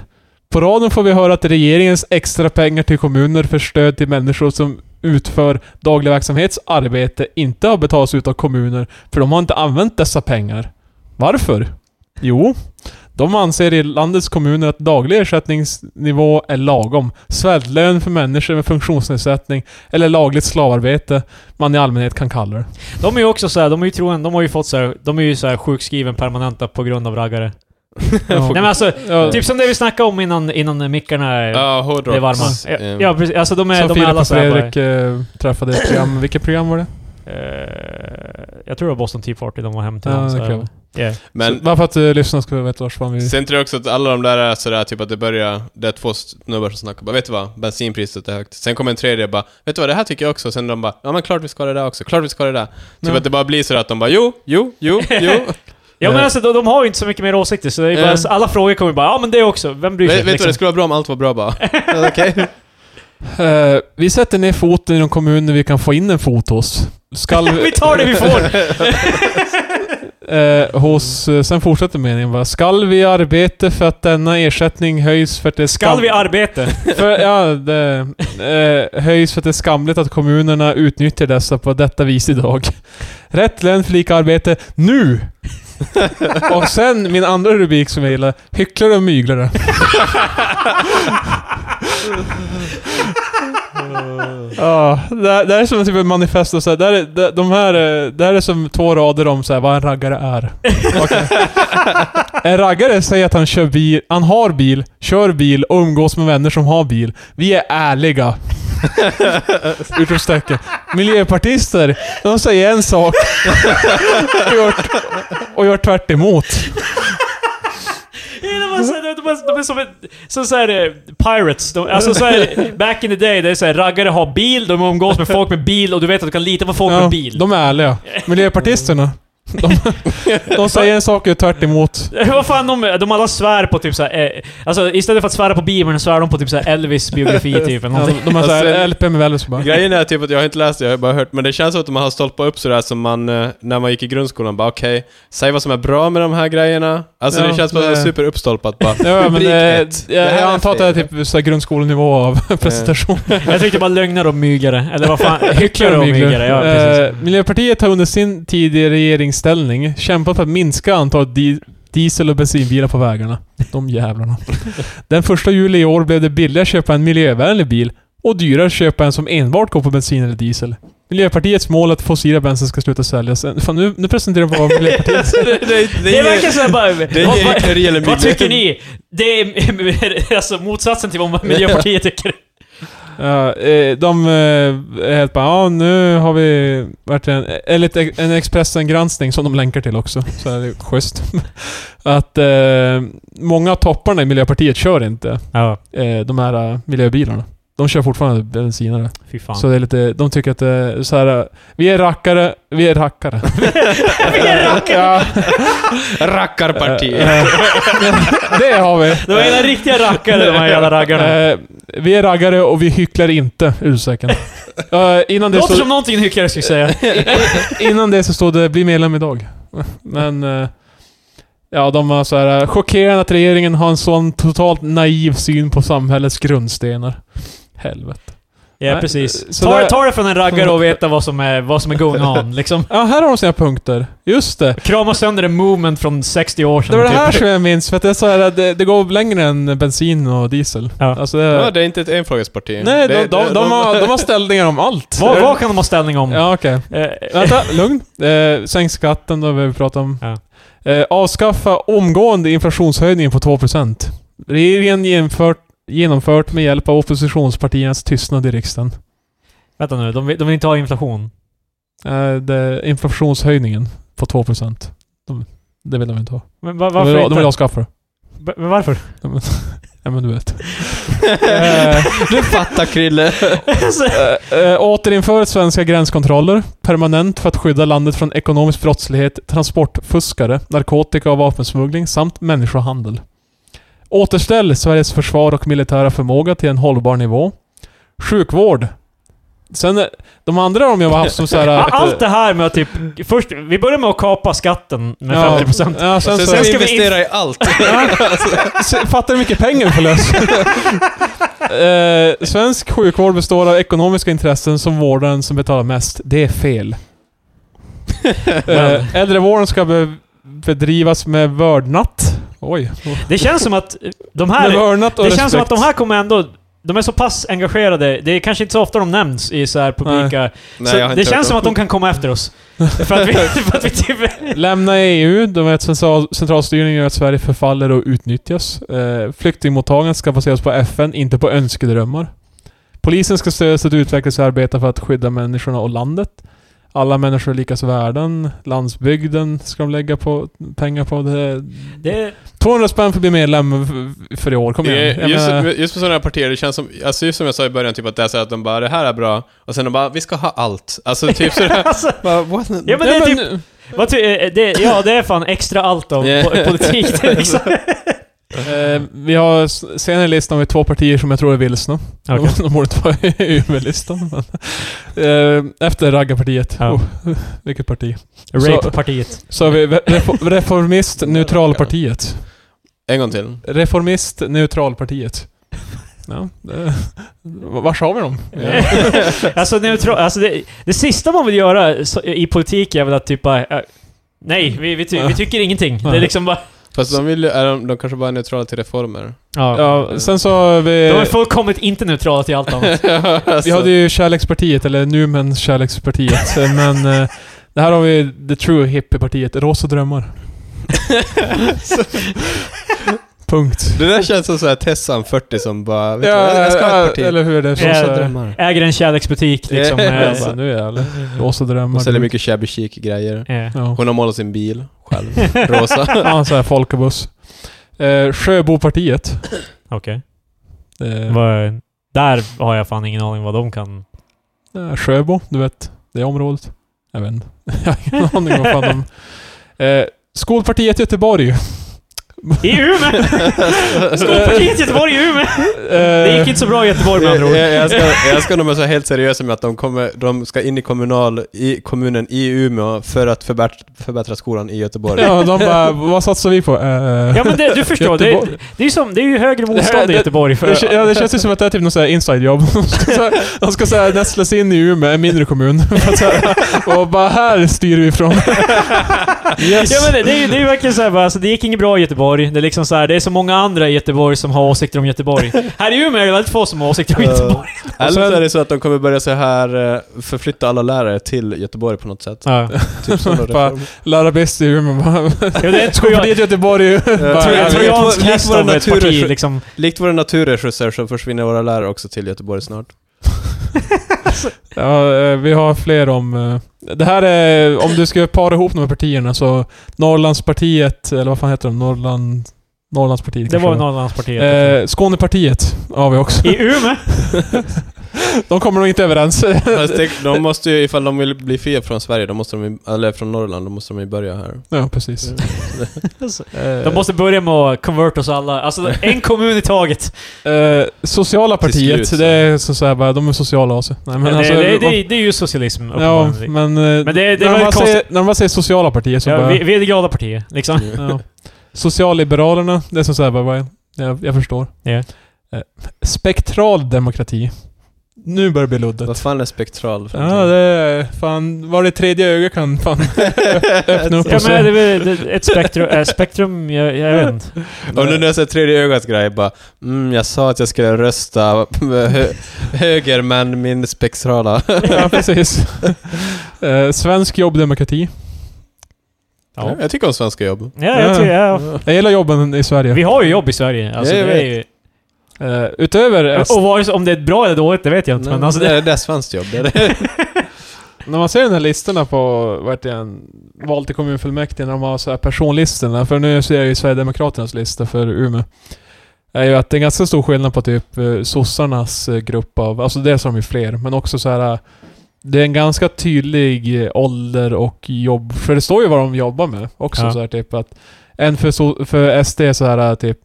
På raden får vi höra att regeringens extra pengar till kommuner för stöd till människor som utför daglig verksamhets arbete inte har betalats ut av kommuner, för de har inte använt dessa pengar. Varför? Jo, de anser i landets kommuner att daglig ersättningsnivå är lagom. Svältlön för människor med funktionsnedsättning, eller lagligt slavarbete, man i allmänhet kan kalla det.
De är ju också såhär, de är ju troende, de har ju fått såhär, de är ju såhär sjukskriven permanenta på grund av raggare.
Ja.
Nej men alltså,
Ja.
typ som det vi snackade om innan, innan mickarna
Ja, hårdrock.
blev varma. Ja,
Mm.
ja precis, alltså de är,
Som
de är
Filip
alla
och
såhär bara,
Fredrik eh, träffade ett program. Vilket program var det?
eh, Jag tror det var Boston Tea Party de var hem till.
Ja,
dem, så
det
här.
kan
yeah.
Men
så, bara för att uh, lyssnarna ska veta vars fan vi...
Sen tror jag också att alla de där är sådär typ att det börjar, det är två snubbar som snackar bara vet du vad, bensinpriset är högt. Sen kommer en tredje och bara, vet du vad, det här tycker jag också. Sen de bara, ja men klart vi ska ha det där också, klart vi ska ha det där. Typ
Ja.
att det bara blir sådär att de bara, jo, jo, jo, jo.
Ja men
Eh.
alltså de, de har ju inte så mycket mer åsikter så det är bara,
Eh.
så alla frågor kommer bara ja men det också, vem bryr
vet
sig? Liksom.
vet du vad, det skulle vara bra om allt var bra bara. Ja, Okej?
Eh, vi sätter ner foten i de kommuner vi kan få in en fot hos. Skall vi...
Vi tar det vi får!
Eh, hos, eh, sen fortsätter meningen bara. Skall vi arbeta för att denna ersättning höjs för att det är skam...
Skall vi arbeta?
för, ja, det, eh, höjs för att det är skamligt att kommunerna utnyttjar dessa på detta vis idag. Rätt lön för lika arbete nu! och sen min andra rubrik som jag gillar. Hycklare och myglare. Ja, det, här- det här är som en typ av manifest och så här, det, här är, det, de här, eh, det här är som två rader om så här, vad en raggare är. Okej. En raggare säger att han kör bil, han har bil, kör bil och umgås med vänner som har bil. Vi är ärliga. Utropstecken. Miljöpartister, de säger en sak och gör, och gör tvärt emot.
Ja, De var så- de var- de är som, en- som så här, eh, pirates. De, alltså så här, back in the day, det är så här, raggare har bil, de umgås med folk med bil och du vet att du kan lita på folk
Ja,
med bil.
de är ärliga. Miljöpartisterna, de, de säger en sak och gör tvärt emot.
Vad fan, de, de alla svär på typ så här, eh, Alltså istället för att svära på Bibeln svär de på typ så här Elvis biografi typ. eller
Ja,
någonting.
de, de har
Och
såhär
sen-
LP med Velvet bara.
Alltså, Grejen är typ att jag har inte läst det, jag har bara hört, men det känns som att de har stolpat upp sådär som man, eh, när man gick i grundskolan, bara okej, säg vad som är bra med de här grejerna. Alltså
Ja,
det känns bara
det-
superuppstolpat bara.
Ja, men
Rubrik
eh,
ett. Det här Eh.
jag, jag antar att det är
fel.
typ såhär grundskolenivå av presentation.
Jag tyckte bara lögnare och mygare. Eller vad fan, hycklare och
Mygler.
mygare. Ja,
Eh,
precis.
Miljöpartiet har under sin tid i regeringsställning kämpat för att minska antalet di- diesel och bensinbilar på vägarna. De jävlarna. Den första juli i år blev det billigare att köpa en miljövänlig bil och dyrare att köpa en som enbart går på bensin eller diesel. Miljöpartiets mål är att fossila bränslen ska sluta säljas. Eh, Fan, nu, nu presenterar de vad Miljöpartiet...
det, det, det,
Det verkar såhär bara...
det
vad,
är
vad,
hyckleri eller
vad
mygel.
tycker ni? Det är alltså motsatsen till vad Miljöpartiet tycker.
Ja, eh, de eh, är helt bara, ja nu har vi varit en, eller ett- en Expressen-granskning som de länkar till också. Så är det schysst. Att eh, många av topparna i Miljöpartiet kör inte
Ja,
eh, de här eh, miljöbilarna. De kör fortfarande bensinare.
fy fan.
Så det är lite, de tycker att det är så här, eh, vi är rackare, vi är rackare.
Vi är rackare.
ja,
Rackarparti.
eh, eh, det har vi.
De är hela riktiga rackare de här jävla raggarna.
Eh, vi är raggare och vi hycklar inte, ursäkert. Eh, innan
Det
det
låter
så,
som någonting en hycklare skulle säga.
Innan det så stod det 'Bli medlem idag'. Men... eh, Ja, de var så här chockerande att regeringen har en sån totalt naiv syn på samhällets grundstenar. Helvete.
Ja,
Nej,
precis.
så
Ta,
där-
ta det från en raggare och veta vad som är, vad som är going on, liksom.
Ja, här har de sina punkter. Just det.
Krama sönder en movement från 60 år sedan. typ.
Det var det här som jag minns, för att det, är så här, att det, det går längre än bensin och diesel.
Ja.
Alltså, det,
Ja, det är inte ett enfrågesparti.
nej, de,
det,
de, de, har, de har ställningar om allt.
Vad, vad kan de ha ställning om?
Ja, okej.
Eh,
Vänta, lugn. Eh, sänk skatten, då behöver vi prata om.
Ja.
Eh, avskaffa omgående inflationshöjningen på 2%. Regeringen genomfört, genomfört med hjälp av oppositionspartiernas tystnad i riksdagen.
vänta nu, de vill, de vill inte ha inflation.
Eh, det, inflationshöjningen på 2%. De, det vill de inte ha.
Men va,
De
varför
vill,
inte?
de vill avskaffa det.
Va- Men varför?
Ja, men du vet.
Eh, du fattar Krille.
Eh, eh, återinför svenska gränskontroller permanent för att skydda landet från ekonomisk brottslighet, transportfuskare, narkotika och vapensmuggling samt människohandel. Återställ Sveriges försvar och militära förmåga till en hållbar nivå. Sjukvård. Sen, eh, de andra har de ju haft som eh, såhär...
A- Allt det här med att typ... Först, vi börjar med att kapa skatten med 50%.
Ja, sen,
Sen
så,
ska vi
ska vi
investera i allt.
Se- Fattar du hur mycket pengar vi får lös? eh, svensk sjukvård består av ekonomiska intressen som vårdaren som betalar mest. Det är fel. eh, äldrevården ska be- bedrivas med vördnat. Oj.
Det känns som att de
Med
här...
vördnat och
Det
respekt.
känns som att de här kommer ändå... De är så pass engagerade. Det är kanske inte så ofta de nämns i så här publika...
Nej,
så
jag har inte
det
hört
känns som
om.
att de kan komma efter oss. för att vi, för att vi typ...
Lämna EU. De vet central, centralstyrning gör att Sverige förfaller och utnyttjas. Eh, flyktingmottagandet ska baseras på FN, inte på önskedrömmar. Polisen ska stödjas att utvecklas och arbeta för att skydda människorna och landet. Alla människor är likas värden. Landsbygden ska de lägga på pengar på. Det.
Det,
200 spänn för att bli medlem f- för i år. Kom igen.
Det är-
Jag
Just,
menar,
just på sådana här partier, det känns som, alltså just som jag sa i början, typ att det är så här att de bara det här är bra, och sen de bara vi ska ha allt. Alltså typ sådär.
alltså,
bara, what?
ja, men det,
ja,
är typ,
men,
vad ty, eh, det, ja, det är fan extra allt av
Ja.
po- politik. Det är liksom.
eh, vi har s- senare i listan med två partier som jag tror är vilsna.
Okej.
De borde inte vara i UV-listan. Men, eh, efter raggarpartiet.
Ja.
Oh, vilket parti.
Rape-partiet.
Så har vi re- refor- reformist neutralpartiet.
En gång till.
Reformist neutralpartiet. Ja, det, vars har vi dem? Ja.
alltså, neutral, alltså det, det sista man vill göra så, i politik är väl att typ bara... eh, Nej, vi, vi, ty, vi tycker ingenting. Det är liksom bara...
Fast de vill ju, är de, de kanske bara är neutrala till reformer.
Ja, sen så har
De
Eh.
vi...
är fullkomligt inte neutrala till allt annat.
alltså,
Vi hade ju kärlekspartiet, eller Numens kärlekspartiet. men eh, det här har vi the true hippiepartiet, rosa drömmar. Punkt.
Det där känns som såhär Tessan 40 som bara vet
Ja,
du, jag ska ha ett parti.
eller hur? Det är så,
Ja,
så
Rosa
eh,
drömmar.
Äger en kärleksbutik liksom.
Ja,
eh,
alltså, nu jävlar. Rosa drömmar.
Hon säljer mycket shabby chic grejer.
eh.
Ja.
Hon har målat sin bil själv. Rosa.
Ja, så här folkabuss. Eh, Sjöbopartiet.
Okej.
Eh,
Vad- Där har jag fan ingen aning vad de kan...
eh, Sjöbo, du vet. Det området. Jag vet inte. Jag har ingen aning vad fan de... Eh, Skolpartiet Göteborg. Eh,
I Umeå! Skolpartiet i Göteborg i Umeå! Det gick inte så bra i Göteborg med andra
Jag,
eh,
ord.
jag, jag, ska, jag ska nog vara så helt seriös med att de, kommer, de ska in i, kommunal, i kommunen i Umeå för att förbättra, förbättra skolan i Göteborg.
Ja, de bara, vad satsar vi på? Eh,
Ja men det, du förstår, det,
Göteborg.
det, är ju som, det är ju högre motstånd i
det-
Göteborg för...
det, kä- ja, det känns ju som att det är typ något sånt här inside-jobb. De ska så här- De ska såhär nästlas in i Umeå, en mindre kommun. För att så här- och bara här styr vi ifrån. Yes.
Ja men det, det, är ju, det är ju verkligen såhär bara, alltså, det gick inget bra i Göteborg. Det är liksom så här, det är så många andra i Göteborg som har åsikter om Göteborg. Här i Umeå är det väldigt få som har åsikter om
Eh,
Göteborg.
Eller så är det så att de kommer börja så här eh, förflytta alla lärare till Göteborg på något sätt.
Ja.
Typ sådana
Bara-
reformer.
Lära bäst i Umeå. bara-
Ja, det tror jag...
Skolpartiet Göteborg. bara-
tror jag-
Trojansk
Likt vår-
häst
likt vår
av ett
natur-
parti liksom.
Likt våra naturresurser så försvinner våra lärare också till Göteborg snart.
Ja, eh, vi har fler om... eh, Det här är... Om du ska para ihop de här partierna så... Norrlandspartiet, eller vad fan heter de? Norrland... Norrlandspartiet
Det
kanske
var
det
Norrlandspartiet.
Eh, Skånepartiet har vi också.
I Umeå?
De kommer nog inte överens.
Fast det, de måste ju, ifall de vill bli fria från Sverige, då måste de, ju- eller från Norrland, då måste de ju börja här.
ja, precis. Eh,
De måste börja med att convert oss alla. Alltså en kommun i taget.
Eh, sociala
Till
partiet,
slut så-
det är så så här bara, de är sociala av sig. Nej, men
det,
alltså,
det,
man-
det, det är ju socialism
Ja,
uppenbarligen.
men... eh,
Men det- det
när,
är väl
man
konstigt-
säger, när man säger sociala partier så
ja,
bara...
vi, vi är det glada partiet, liksom.
Ja. Socialliberalerna, det är som såhär, bara, vad är- jag, jag förstår.
Ja.
Eh, Spektral demokrati. Nu börjar det bli luddigt.
Vad fan är spektral? för
Ja,
någonting?
det är fan... Var det tredje ögat kan fan öppna upp
Ja,
och
men det
se.
är väl det- ett spektrum, äh, spektrum jag, jag vet inte.
Och nu när jag ser tredje ögats grej, bara mm, jag sa att jag skulle rösta hö- höger, men min spektrala...
Ja, precis. Eh, Svensk jobbdemokrati.
Ja.
Jag tycker om svenska jobb.
Ja, jag tycker, ja.
Jag gillar jobben i Sverige.
Vi har ju jobb i Sverige. Alltså,
Ja, jag
det är ju,
Eh, utöver...
och vare sig om det är bra eller dåligt, det vet jag inte. Men alltså, det,
det, det är svenskt jobb. Det är det.
När man ser den här listorna på vart det än, val till kommunfullmäktige, när de har så här personlistorna, för nu ser jag ju Sverigedemokraternas lista för Umeå, är ju att det är ganska stor skillnad på typ eh, sossarnas eh, grupp av, alltså dels har de ju fler, men också så här eh, det är en ganska tydlig eh, ålder och jobb, för det står ju vad de jobbar med också
Ja.
så här typ att en för, so- för SD så här eh, typ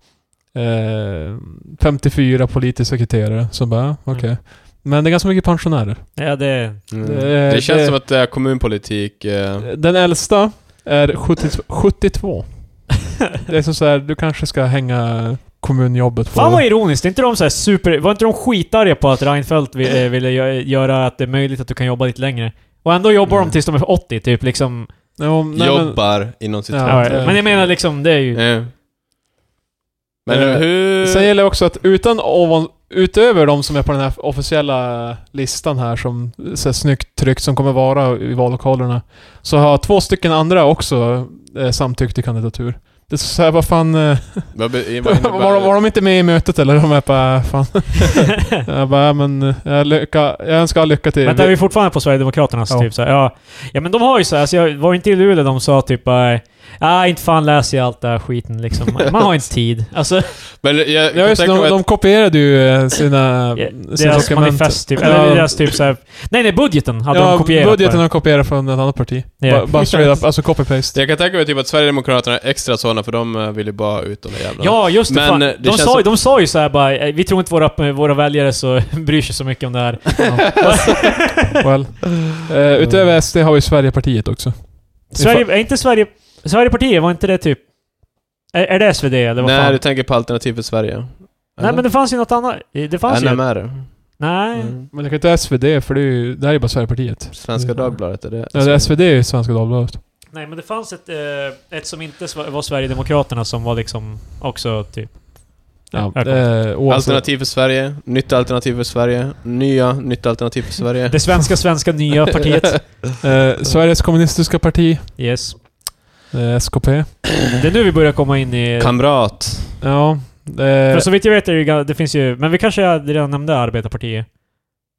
eh, 54 politisk sekreterare som bara, ja, okej.
Mm.
Men det är ganska mycket pensionärer.
ja, det,
Mm.
Det-
Det känns
det-
som att det är kommunpolitik. eh,
Den äldsta är 70, 72. Det är som så här, du kanske ska hänga kommunjobbet på...
fan vad ironiskt. Är inte de så här super, var inte de skitarga på att Reinfeldt vi- eh, ville gö- göra att det är möjligt att du kan jobba lite längre? Och ändå jobbar
Mm.
de tills de är 80, typ liksom.
Ja, nej, men-
Jobbar inom sitt...
Ja,
Ja,
det-
men jag menar liksom, det är ju...
Eh.
Eh,
Men hur...
Sen gäller det också att utan ovan, utöver de som är på den här officiella listan här som så här, snyggt tryckt som kommer vara i vallokalerna. Så har två stycken andra också eh, samtyckt till kandidatur. Det är så här, vad fan... Eh,
Vad be- vad innebär
var, de- var de inte med i mötet eller? De är bara, fan. jag bara, ja, men eh, jag, lycka, jag önskar all lycka till.
Vänta, är vi fortfarande på Sverigedemokraternas
Ja.
typ så här, ja. ja, men de har ju så här, alltså jag var inte i Luleå de sa typ bara, nej inte fan läser jag allt det här skiten liksom. Man har inte tid. Alltså,
Men jag, jag
Ja
kan
just det,
tänka mig
de,
att...
de kopierade ju eh, sina,
ja,
sina
deras manifest typ. Eller
Ja,
deras typ så här, nej nej, budgeten hade
ja,
de kopierat.
budgeten
bara.
har kopierat från ett annat parti.
Ja.
Ba- Bara straight up, alltså copy-paste.
Jag kan tänka mig typ att Sverigedemokraterna är extra sådana för de eh, vill ju bara ut de där jävlarna.
Ja, just det.
Men,
fan.
eh,
De,
det känns
sa,
som-
de sa ju så här bara, eh, vi tror inte våra, våra väljare så bryr sig så mycket om det här.
Alltså,
Well. Eh, utöver SD har vi Sverigepartiet också.
Sverige, är inte Sverige, Sverigepartiet, var inte det typ... Är, är det SvD eller vad
Nej,
fan?
du tänker på Alternativ för Sverige.
nej men det fanns ju något annat. Det fanns ju...
NMR.
Nej.
Mm.
Men det kan inte vara SvD för det, är ju, det här är ju bara Sverigepartiet.
Svenska
Mm.
Dagbladet, är det?
Ja, det är SvD är ju Svenska Dagbladet.
Nej, men det fanns ett, eh, ett som inte sva- var Sverigedemokraterna som var liksom också typ...
Ja,
jag kommer.
eh, oavsett.
Alternativ för Sverige, Nytt Alternativ för Sverige, Nya Nytt Alternativ för Sverige.
Det svenska, svenska nya partiet.
Eh, Sveriges kommunistiska parti,
Yes.
eh, SKP.
Det är nu vi börjar komma in i...
Kamrat.
Ja.
För
Eh,
så vitt jag vet är det, ju ga- det finns ju... Men vi kanske redan nämnde Arbetarpartiet.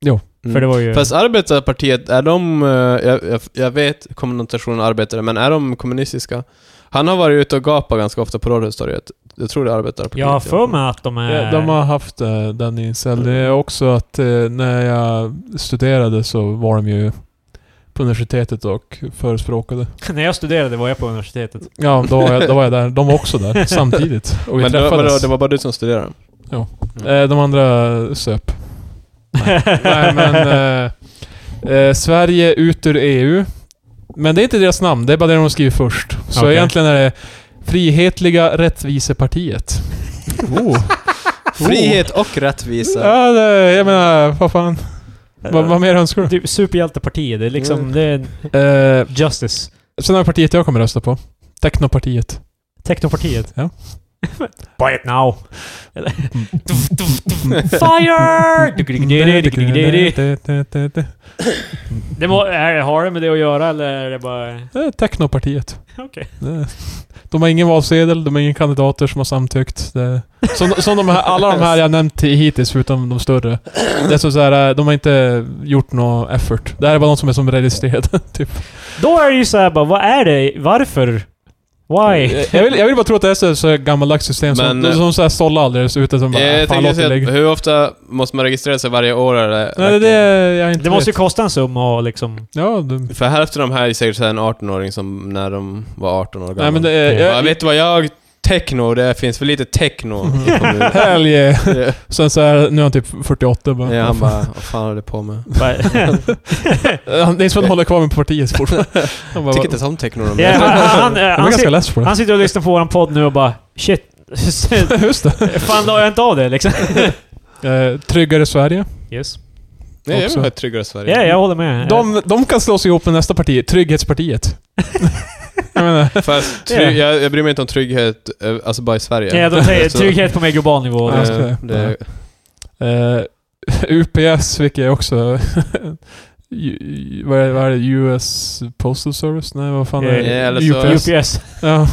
Mm.
För det var ju...
Fast Arbetarpartiet, är de... eh, Jag, jag, jag vet kommunikationen arbetare, men är de kommunistiska? Han har varit ute och gapat ganska ofta på Rådhustorget. Jag tror det är Arbetarpartiet.
jag har för mig att de är...
Ja, de har haft eh, den inställd. Det är också att eh, när jag studerade så var de ju på universitetet och förespråkade.
När jag studerade var jag på universitetet.
Ja, då var jag, då var jag där. De var också där samtidigt. Och vi
Men det var, vadå,
träffades.
det var bara du som studerade?
Eh, de andra söp. Nej, Nej men... Eh, eh, Sverige ut ur EU. Men det är inte deras namn, det är bara det de skriver först. Så
Okej.
egentligen är det Frihetliga Rättvisepartiet. oh.
Frihet och rättvisa.
Ja, det, jag menar, vad fan. Vad, vad mer önskar du?
Typ superhjältepartiet. Det är liksom...
Mm.
Det är
Eh,
justice.
Sen har vi partiet jag kommer rösta på. Technopartiet.
Teknopartiet.
Ja.
Buy it now! Eller- Fire! Det må, är, har det med det att göra eller är det bara...
Eh, Technopartiet.
Okej.
Eh, De har ingen valsedel, de har inga kandidater som har samtyckt. Det- Som, som de här, alla de här jag nämnt till hittills, förutom de större. Det är så så här, eh, de har inte gjort någon effort. Det här är bara de som är som registrerade. Typ.
Då är det ju såhär bara, vad är det? Varför? Why?
Eh, Jag, vill, jag vill bara tro att det är så, så här gammaldags system som,
Men, eh,
som så här sållar alldeles ute. Som bara,
Jag, jag
fan, låt
tänkte
det
säga, eh,
ligga.
hur ofta måste man registrera sig varje år? Eller?
Nej, det är det jag inte
Det måste ju
vet.
kosta en summa och liksom...
Ja, du...
För hälften av de här är säkert så här en 18-åring som när de var 18 år gamla.
Nej men det är...
Bara, vet du vad jag techno, det finns för lite techno i kommunen.
Hell yeah.
Ja.
Sen så här, nu är han typ 48 bara.
Ja, han bara, vad fan håller du på med?
Bara-
Han, det är som att han håller kvar med partiet fortfarande. Han bara,
Tycker inte ens om techno de
Ja,
där.
han, han,
jag var
han,
ganska
sit-
less på det.
han sitter och lyssnar på våran podd nu och bara shit.
Just det.
Fan, la jag inte av det liksom?
Eh, tryggare Sverige.
Yes.
Nej, jag vill
också.
ha ett tryggare Sverige.
Ja, jag håller med.
De, de kan slå sig ihop med nästa parti, Trygghetspartiet. jag menar,
Fast try-
Ja.
jag, jag bryr mig inte om trygghet, eh, alltså bara i Sverige.
Ja, de säger
Alltså,
trygghet på mer global nivå.
eh,
Ja, ska jag.
det,
eh, UPS, vilket är också... ju- ju- vad, är, vad är det? US Postal Service? Nej, vad
Eh,
fan är
Ja,
det?
eller så-
UPS.
UPS.
Ja,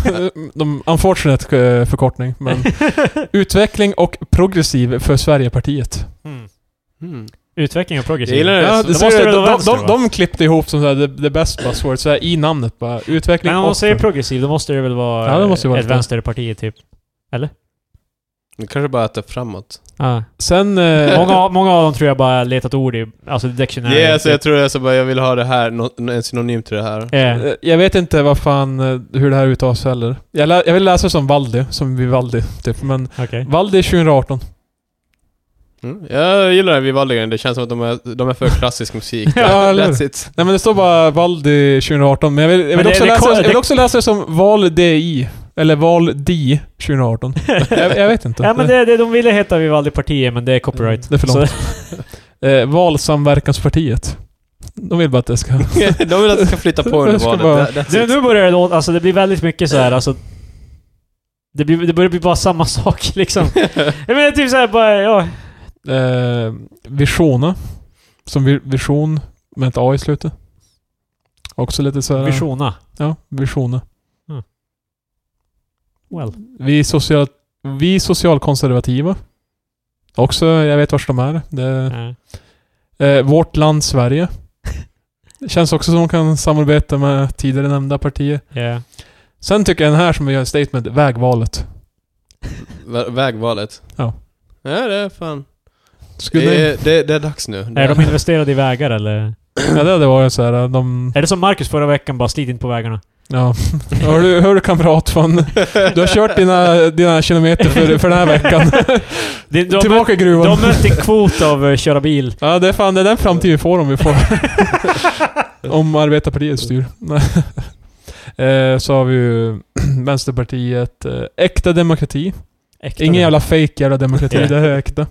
de, unfortunate eh, förkortning, men... Utveckling och progressiv för Sverigepartiet.
Mm.
Mm.
Utveckling och progressiv.
Jag gillar det.
Ja,
så-
det
då
ser
måste
du,
det
de,
vara
de,
vänster,
de,
va?
de klippte ihop som så här, the, the best buzzword så här, i namnet bara. Utveckling
Men om
och...
de säger progressiv, då måste det väl vara,
Ja, det måste ju vara
ett
det.
vänsterparti typ?
Det kanske bara att det är framåt.
Ja.
Sen... Eh,
Många, många av dem tror jag bara letat ord i, alltså
Ja,
dictionary.
alltså, jag tror det är så bara, jag vill ha det här, no, en synonym till det här.
Ja.
Eh, Jag vet inte vad fan, eh, hur det här uttas heller. Jag, lä- jag vill läsa som Valdi, som Vivaldi, typ. Men
Okej.
Valdi 2018.
Mm. Jag gillar den Vivaldi-grejen, det känns som att de är, de är för klassisk musik.
Ja, eller hur?
That's it.
Nej men det står bara Valdi 2018, men jag vill, jag
Men
vill,
det-
också,
det-
läsa, jag vill
det-
också läsa det som Val DI. Eller Val DI 2018. jag, jag vet inte.
Ja men det, det de ville heta Vivaldi-partiet, men det är
Mm,
copyright.
det är för
Så-
långt. Eh, valsamverkanspartiet. De vill bara att det ska...
de vill att det ska flytta på under
Jag ska
valet.
bara-
That- that's
Nu,
it.
nu börjar det låta, alltså det blir väldigt mycket så här, alltså det, blir, det börjar bli bara samma sak liksom. Jag menar typ såhär bara, ja...
Eh, visiona. Som vi, vision med ett A i slutet. Också lite så här...
Visiona.
Ja, visiona.
Well.
Vi, är social, vi är socialkonservativa. Också, jag vet vars de är. Det,
Ja.
eh, vårt land Sverige. Det känns också som de kan samarbeta med tidigare nämnda partier.
ja.
Sen tycker jag den här som vi gör ett statement, vägvalet.
Vä- Vägvalet.
Ja.
Ja, det är fan.
Skulle
Det är, det, det är dags nu.
Är de investerade i vägar eller?
ja, det hade varit så här, eh, de...
Är det som Marcus förra veckan, bara slit inte på vägarna?
Ja. Hör du, hör du kamrat fan. Du har kört dina, dina kilometer för, för den här veckan.
De, de,
Tillbaka i
de
gruvan.
har mött en kvot av eh, köra bil.
Ja, det är fan det är den framtid vi får om vi får... om arbetarpartiet styr. Nej. eh, så har vi ju Vänsterpartiet. Eh, äkta demokrati.
Äkta.
Ingen jävla fake jävla demokrati,
Ja.
det här är äkta.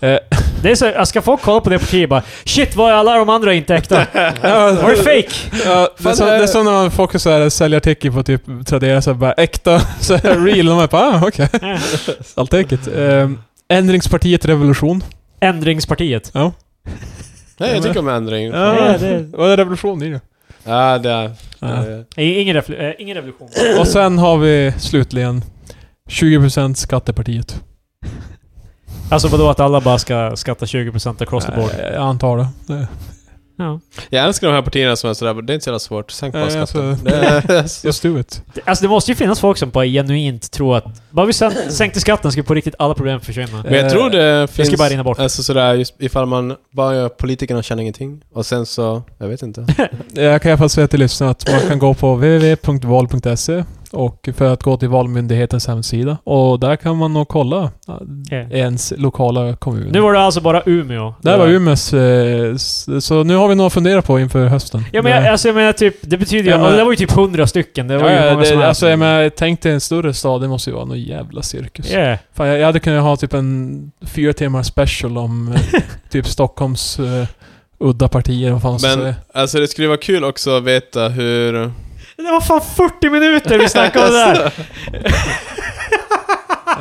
Eh,
Det är så, jag ska folk kolla på det partiet bara Shit, vad är alla de andra inte äkta? Var det fake?
ja, det, är så, det är som när man folk så här, säljer artikel på typ Tradera, så här, bara äkta, så här, real. De är bara ah, okej.
Ja.
Allt är äckligt. Eh, Ändringspartiet Revolution.
Ändringspartiet.
Nej, jag tycker om ändring.
Ja.
Ja,
Ja, det-
Vad är revolution i det?
ja det är...
Ja.
det är-
I- Ingen, refle- eh, ingen revolution.
Och sen har vi slutligen 20% Skattepartiet.
Alltså vadå att alla bara ska skatta 20% across the board?
Eh, Jag antar det. det.
Ja.
Jag älskar de här partierna som är sådär, det är inte så jävla svårt. Sänk bara
Nej,
skatten.
alltså-
Det är så-
Just do it.
Det- Alltså det måste ju finnas folk som bara genuint tror att bara vi sän- sänkte skatten skulle på riktigt alla problem försvinna.
Men jag tror det
ska
finns...
bara rinna bort.
Alltså sådär, just ifall man bara gör politikerna känner ingenting. Och sen så, jag vet inte.
Jag kan i alla fall säga till lyssnarna att man kan gå på www.val.se och för att gå till Valmyndighetens hemsida. Och där kan man nog kolla
Ja.
ens lokala kommun.
Eh, Nu var det alltså bara Umeå.
det här var Umeås... eh, s- Så nu har vi något att fundera på inför hösten.
Ja men jag, alltså jag menar typ, det betyder ju...
Ja, men-
och det var ju typ 100 stycken. Det var
ja,
ju
ja,
många som
det, alltså, jag
helst.
menar, tänk dig en större stad, det måste ju vara någon jävla cirkus.
Yeah.
Fan, jag, jag hade kunnat ha typ en fyra timmar special om eh, typ Stockholms eh, udda partier, vad fan man ska
Men
säga.
alltså det skulle vara kul också att veta hur...
Det var fan 40 minuter vi snackade om det där!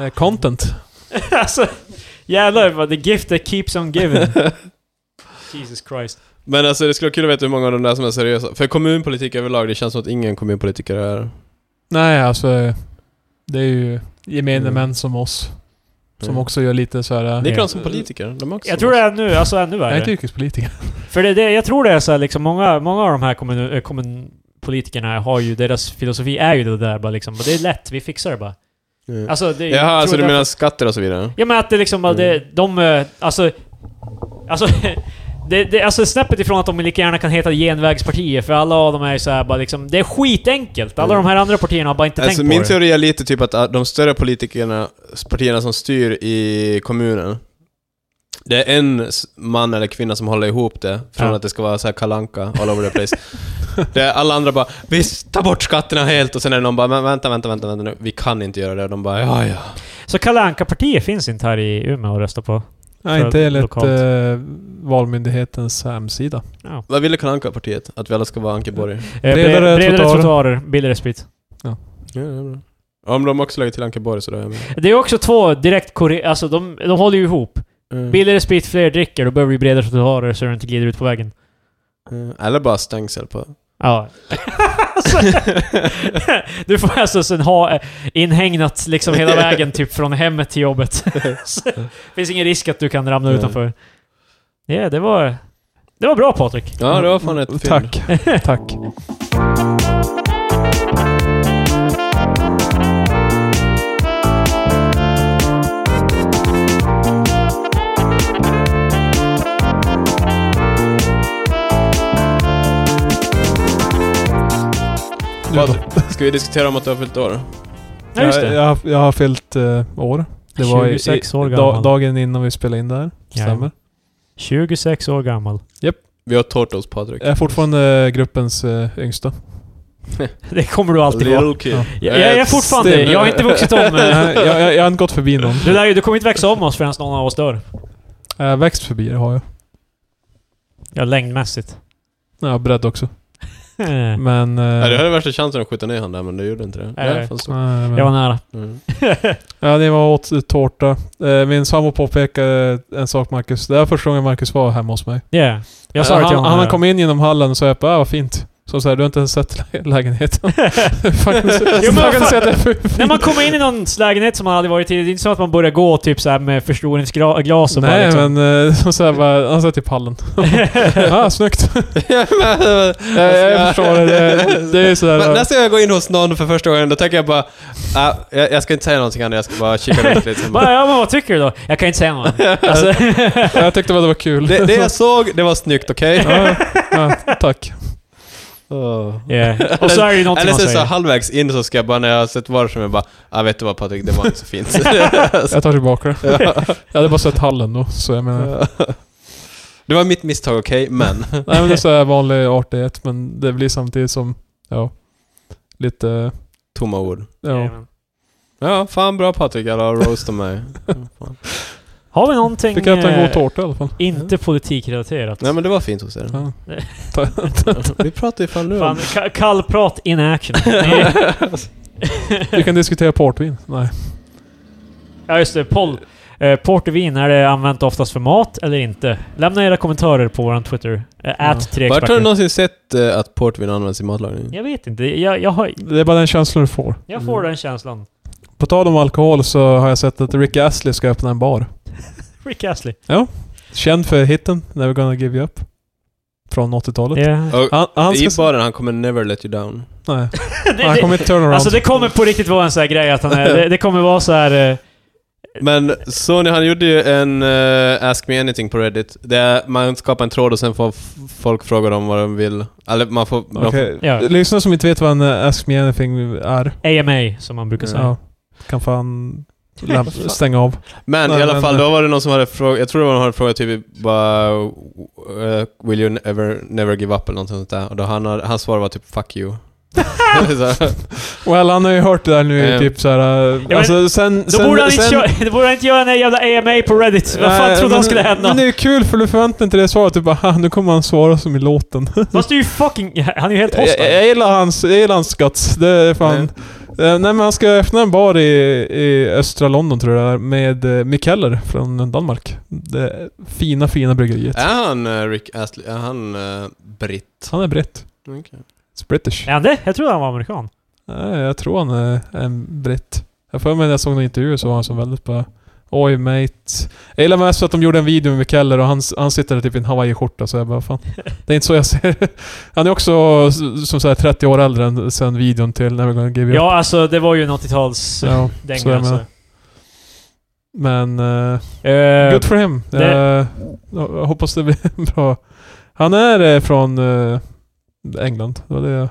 Eh, content.
Alltså, jävlar vad the gift that keeps on giving. Jesus Christ.
Men alltså det skulle vara kul att veta hur många av de där som är seriösa. För kommunpolitik överlag, det känns som att ingen kommunpolitiker är...
Nej, alltså eh, det är ju gemene
Mm.
män som oss. Som
Mm.
också gör lite så här... eh,
Likadant som politiker, de är också...
Jag tror det är nu, alltså ännu
Jag är inte
värre.
yrkespolitiker.
För det, är det, jag tror det är så här, liksom många, många av de här kommun, eh, kommunpolitikerna har ju, deras filosofi är ju det där bara liksom. Och det är lätt, vi fixar det bara.
Mm.
Alltså, det, jag
Jaha,
tror
alltså du
därför-
menar skatter och så vidare?
Ja men att det liksom, bara, det, de, eh, alltså... Alltså, det, det, alltså snäppet ifrån att de lika gärna kan heta genvägspartier, för alla av dem är ju såhär bara liksom... Det är skitenkelt! Alla
Mm.
de här andra partierna har bara inte
Alltså,
tänkt
min
på det.
teori är lite typ att ah, de större politikerna, partierna som styr i kommunen, det är en s- man eller kvinna som håller ihop det, från
Ja.
att det ska vara så här kalanka all over the place. det är alla andra bara ”Vi tar bort skatterna helt” och sen är det någon bara "Men ”Vänta, vänta, vänta, vänta nu, vi kan inte göra det” och de bara ”Ja, ja”.
Så Kalle Anka-partiet finns inte här i Umeå att rösta på.
Nej,
För
inte enligt
lokalt.
eh, Valmyndighetens hemsida.
Vad ville Kalanka partiet Att vi alla ska vara Ankeborg?
Eh, bre-
Bredare trottoarer.
trottoarer, billigare sprit.
Ja, det är bra. Om de också lägger till Ankeborg så då är jag med.
Det är också två direkt kore- Alltså de, de håller ju ihop.
Mm.
Billigare sprit, fler dricker, då behöver vi bredare trottoarer så du inte glider ut på vägen.
Mm. Eller bara stängsel på...
Ja. Alltså, du får alltså sen ha eh, inhägnat liksom hela vägen typ från hemmet till jobbet. Så Finns ingen risk att du kan ramla
Nej.
utanför. Ja, det var... Det var bra Patrik.
Ja, det var fan ett fynd.
Mm, Tack. Tack. Nu då.
Vad- Ska vi diskutera om att du har fyllt år?
Ja, just
Jag,
det.
jag, har- jag har fyllt eh, år. Det var i-
26
i,
år
da,
gammal.
dagen innan vi spelade in det här. Stämmer.
Jajamän. 26 år gammal.
Vi har tårta hos Patrik.
Jag är fortfarande gruppens eh, yngsta.
Det kommer du alltid vara.
Little kid.
Ja.
Jag, jag är fortfarande... Jag har inte vuxit om. eh,
jag, jag, jag har inte gått förbi någon.
Du, lär ju, du kommer inte växa om oss förrän någon av oss dör.
Jag har växt förbi det har jag.
Ja, längdmässigt.
Jag har bredd också.
Eh,
Men... eh,
Mm. Ja, du hade värsta chansen att skjuta ner han där, men du gjorde inte det.
Nej.
Nej, fan så.
nej, men-
Jag var nära.
Mm.
Ja, det var åt eh, tårta. Eh, Min sambo påpekade en sak Marcus. Det här var första gången Marcus var hemma hos mig.
Yeah. Jag sa
Eh,
det till
han,
honom.
han kom in genom hallen och sa jag bara, ah, vad fint. Så så här, du har inte ens sett lä- lägenheten. Faktiskt.
Jo,
Jag
men vad
kan
fan-
säga att det är för fint.
När man kommer in i någons lägenhet som man aldrig varit i, det är inte så att man börjar gå typ så här med förstoringsglas och bara
Nej
liksom...
men eh, som så här, bara, han sa typ hallen. ah, snyggt. jag, jag förstår det. Det, det är ju
Men
sådär.
nästa gång jag går in hos någon för första gången, då tänker jag bara... ah, jag, jag ska inte säga någonting annat, jag ska bara kika runt lite. sen bara-
Bara, ja, men vad tycker du då? Jag kan inte säga något. Alltså,
Jag tyckte bara det var kul.
Det, det jag såg, det var snyggt, okej? Oh.
ja, ja, tack.
yeah. Och så är det ju någonting
Eller
man
sen så
säger.
halvvägs in så ska jag bara, när jag har sett var som jag bara... Ah, vet du vad Patrik, det var inte så fint.
Jag tar tillbaka det. Jag hade bara sett hallen då, så jag menar.
det var mitt misstag, okej? men...
Nej men det är så här vanlig artighet, men det blir samtidigt som, ja, lite,
Tomma ord.
ja.
Jajamän.
Ja, fan bra Patrik, alla roastar mig.
Har vi någonting...
Fick jag äta en
eh,
god tårta i alla fall.
Inte politikrelaterat.
Nej men det var fint hos er.
Ja.
Vi pratar ju fan nu
Fan,
om...
ka- kallprat in action. Nej.
Vi kan diskutera portvin. Nej.
ja, just det. Pol. Eh, portvin, är det använt oftast för mat eller inte? Lämna era kommentarer på vår Twitter. Eh, Ät tre
Vart har du
experter.
någonsin sett eh, att portvin används i matlagning?
Jag vet inte. Jag, jag, har,
Det är bara den känslan du får.
jag får
Mm.
den känslan.
På tal om alkohol så har jag sett att Rick Astley ska öppna en bar.
Rick Astley.
Känd för hitten Never gonna give you up. Från 80-talet.
Yeah.
Och
Han, han
I
ska...
baren, han kommer never let you down.
Nej.
det,
Han
det,
kommer inte turn around.
alltså det kommer på riktigt vara en sån här grej att han är, det, det kommer vara så här. eh,
Men Sony, han gjorde ju en eh, Ask Me Anything på Reddit. Där man skapar en tråd och sen får f- folk fråga dem vad de vill. Eller man får... de får-
Okej.
Ja.
Lyssnare som inte vet vad en eh, Ask Me Anything är.
AMA som man brukar säga.
Ja. Kan fan läm- stänga av.
Men
Nej,
i alla
men- eh,
fall, då var det någon som hade frågat, jag tror det var någon som hade frågat typ bara eh, Will you never, never give up eller någonting sånt där. Och då han, hade- hans svar var typ 'fuck you' Så-
Well, han har ju hört det där nu i
Eh.
typ såhär... eh,
men-
alltså sen...
Då
sen,
borde han inte,
sen-
köra, då borde han inte göra en jävla AMA på Reddit. Vad fan
Nej,
trodde
men-
han skulle hända?
Men det är ju kul för du förväntar dig inte det svaret. Du bara "Ha, nu kommer han svara som i låten.
Fast det är ju fucking... Han är ju helt
Jag,
hostile.
jag, gillar hans, jag gillar hans guts. Det är fan...
Mm.
Eh, nej men han ska öppna en bar i, i östra London tror jag det är, med eh, Mick Heller från Danmark. Det fina, fina bryggeriet.
Är han eh, Rick Astley? Är han eh, britt?
Han är brett.
Okej.
It's British.
Är han det? Jag trodde han var amerikan.
Nej, jag tror han är en britt. Jag får mig när jag såg någon intervju så var han som väldigt bara... Oj mate. Jag gillar mest att de gjorde en video med Mick Heller och han, han sitter där typ i en hawaiiskjorta så jag bara fan. Det är inte så jag ser Han är också s- som sagt 30 år äldre än sen videon till Never gonna give you up.
Ja, alltså det var ju en 80-tals...
Ja,
dänga,
så jag menar.
alltså.
Men... eh,
Eh,
Good for him.
det-
Eh, jag hoppas det blir en bra... Han är eh, från eh, England. Det var det jag-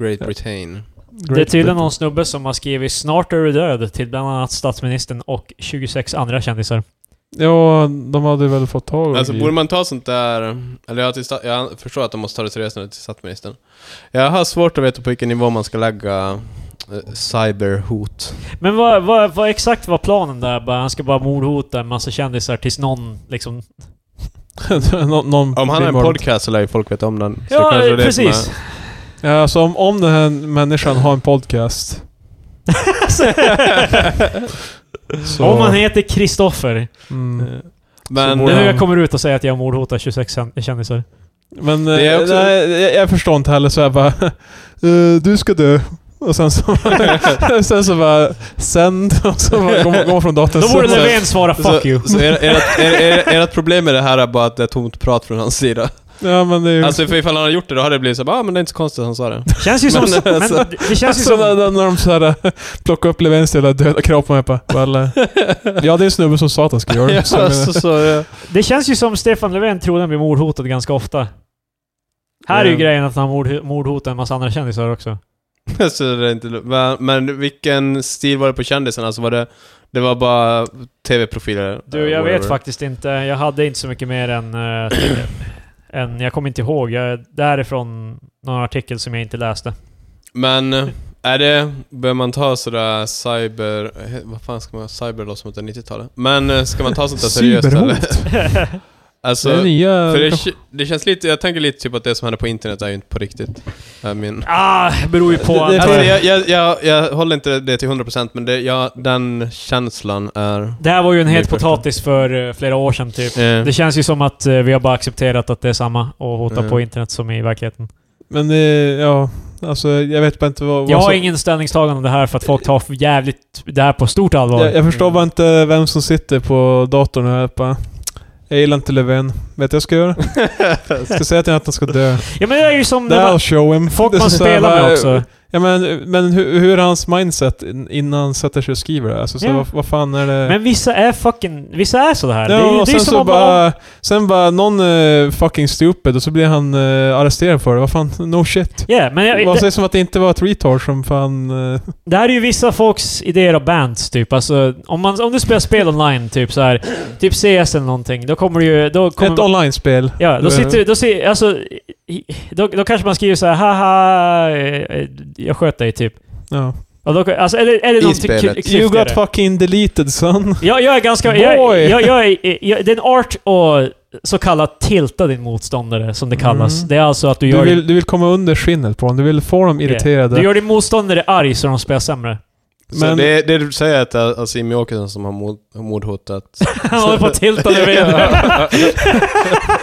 Great Britain.
det är
Great
tydligen
Britain.
någon snubbe som har skrivit “Snart är du död” till bland annat statsministern och 26 andra kändisar.
Ja, de hade väl fått tag
Alltså
i-
borde man ta sånt där... Eller jag, till sta- jag förstår att de måste ta det seriöst när det är till statsministern. Jag har svårt att veta på vilken nivå man ska lägga eh, cyberhot.
Men vad, vad, vad exakt var planen där? Bara, han ska bara mordhota en massa kändisar tills någon liksom...
Nå- någon
Om han har en
blir
podcast så lär ju folk veta om den. Så
Ja,
eh,
kanske det är det som
precis!
Ja, alltså om, om den här människan har en podcast. så,
Alltså. Om han heter Kristoffer.
mm,
är- Men...
Så
Det är
borde
nu
han-
eh,
jag kommer ut och säger att jag mordhotar 26 kän- kändisar.
Men
Det är
eh,
också-
nej, jag, jag förstår inte heller så jag bara... eh, du ska dö. Och sen så, sen så bara... Sänd. Och så bara, går, man- går man från datorn.
Då borde
så-
Löfven svara “fuck
så,
you”.
så er- ert- er- er- ert problem med det här är bara att det är tomt prat från hans sida.
Ja men
Mm.
det är ju...
Alltså för ifall han har gjort det, då hade det blivit så här, ah, men det är inte så konstigt att han sa det.
Känns ju som...
Men,
Men,
alltså-
det känns ju
Alltså när,
som...
när- när de så här, äh, plockar upp Löfvens jävla döda kropp och jag bara well, eh, Ja det är en snubbe som sa att han skulle göra
ja, alltså,
det. Så jag menar,
så, så, ja.
Det känns ju som Stefan Löfven tror han blir mordhotad ganska ofta. Här är ju
Mm.
grejen att han mord, mordhotar en massa andra kändisar också.
så det är inte, men, men vilken stil var det på kändisen? Alltså var det, det var bara tv-profiler?
Du,
eh,
jag
whatever.
vet faktiskt inte. Jag hade inte så mycket mer än... eh, än jag kommer inte ihåg. Jag, det här är från någon artikel som jag inte läste.
Men, eh, är det, bör man ta sådär cyber, eh, vad fan ska man, cyber låter som att det är 90-talet. Men eh, ska man ta sånt där seriöst
Cyberhot.
eller? Alltså,
det är nya...
för
Eh,
det, k- det känns lite, jag tänker lite typ att det som händer på internet är ju inte på riktigt. Är min.
ah, beror ju på...
Det- det
Det,
tror
Alltså, jag, jag, jag, jag håller inte det till 100% men det, ja, den känslan är...
här var ju en
Det är
het
första.
potatis för eh, flera år sedan typ.
Eh,
Det känns ju som att eh, vi har bara accepterat att det är samma och hotar
Mm.
på internet som i verkligheten.
Men eh, ja, alltså jag vet bara inte vad... vad
Jag har
som-
ingen ställningstagande om det här för att folk tar för jävligt det här på stort allvar.
jag, jag förstår bara inte vem som sitter på datorn och jag bara... Jag gillar inte Löfven. Vet du vad jag ska göra? Jag ska säga till honom att han ska dö.
Ja men det är ju som... när
That'll
man-
show him.
Folk
Det är
man
så här,
spelar med
bara,
också.
Ja men, men hur, hur är hans mindset in- innan han sätter sig och skriver det? här? Alltså, så
Ja.
vad, vad fan är det?
Men vissa är fucking... Vissa är så här. det är,
Ja,
ju-
och
det är
sen
som
så
om bara...
bara... Sen bara någon eh, fucking stupid och så blir han eh, arresterad för det. Vad fan, no shit.
Yeah, men jag,
Vad
det,
sägs som att det inte var ett retard som fan... eh,
det här är ju vissa folks idéer och bands typ. Alltså, om, man, om du spelar spel online typ så här, Typ CS eller någonting. Då kommer det ju... Då kommer,
ett online-spel.
Ja, då
Eh,
sitter då ser, alltså, i- då, då kanske man skriver så här haha, eh, eh, jag sköt dig typ.
Ja.
Och då, alltså, eller, eller
I
någonting kul-
spelet.
klyftigare.
You got fucking deleted son.
jag, jag är ganska... Jag,
Boy.
jag, jag, är- jag, det är en art att så kallat tilta din motståndare, som det kallas.
Mm.
Det är alltså att du
Du
gör,
vill, du vill komma under skinnet på dem. Du vill få dem
Yeah.
irriterade.
du gör din motståndare arg så de spelar sämre.
Så
men-
det, det du säger är att det är alltså, Jimmie Åkesson som har mord, mordhotat...
Han håller på att tilta dig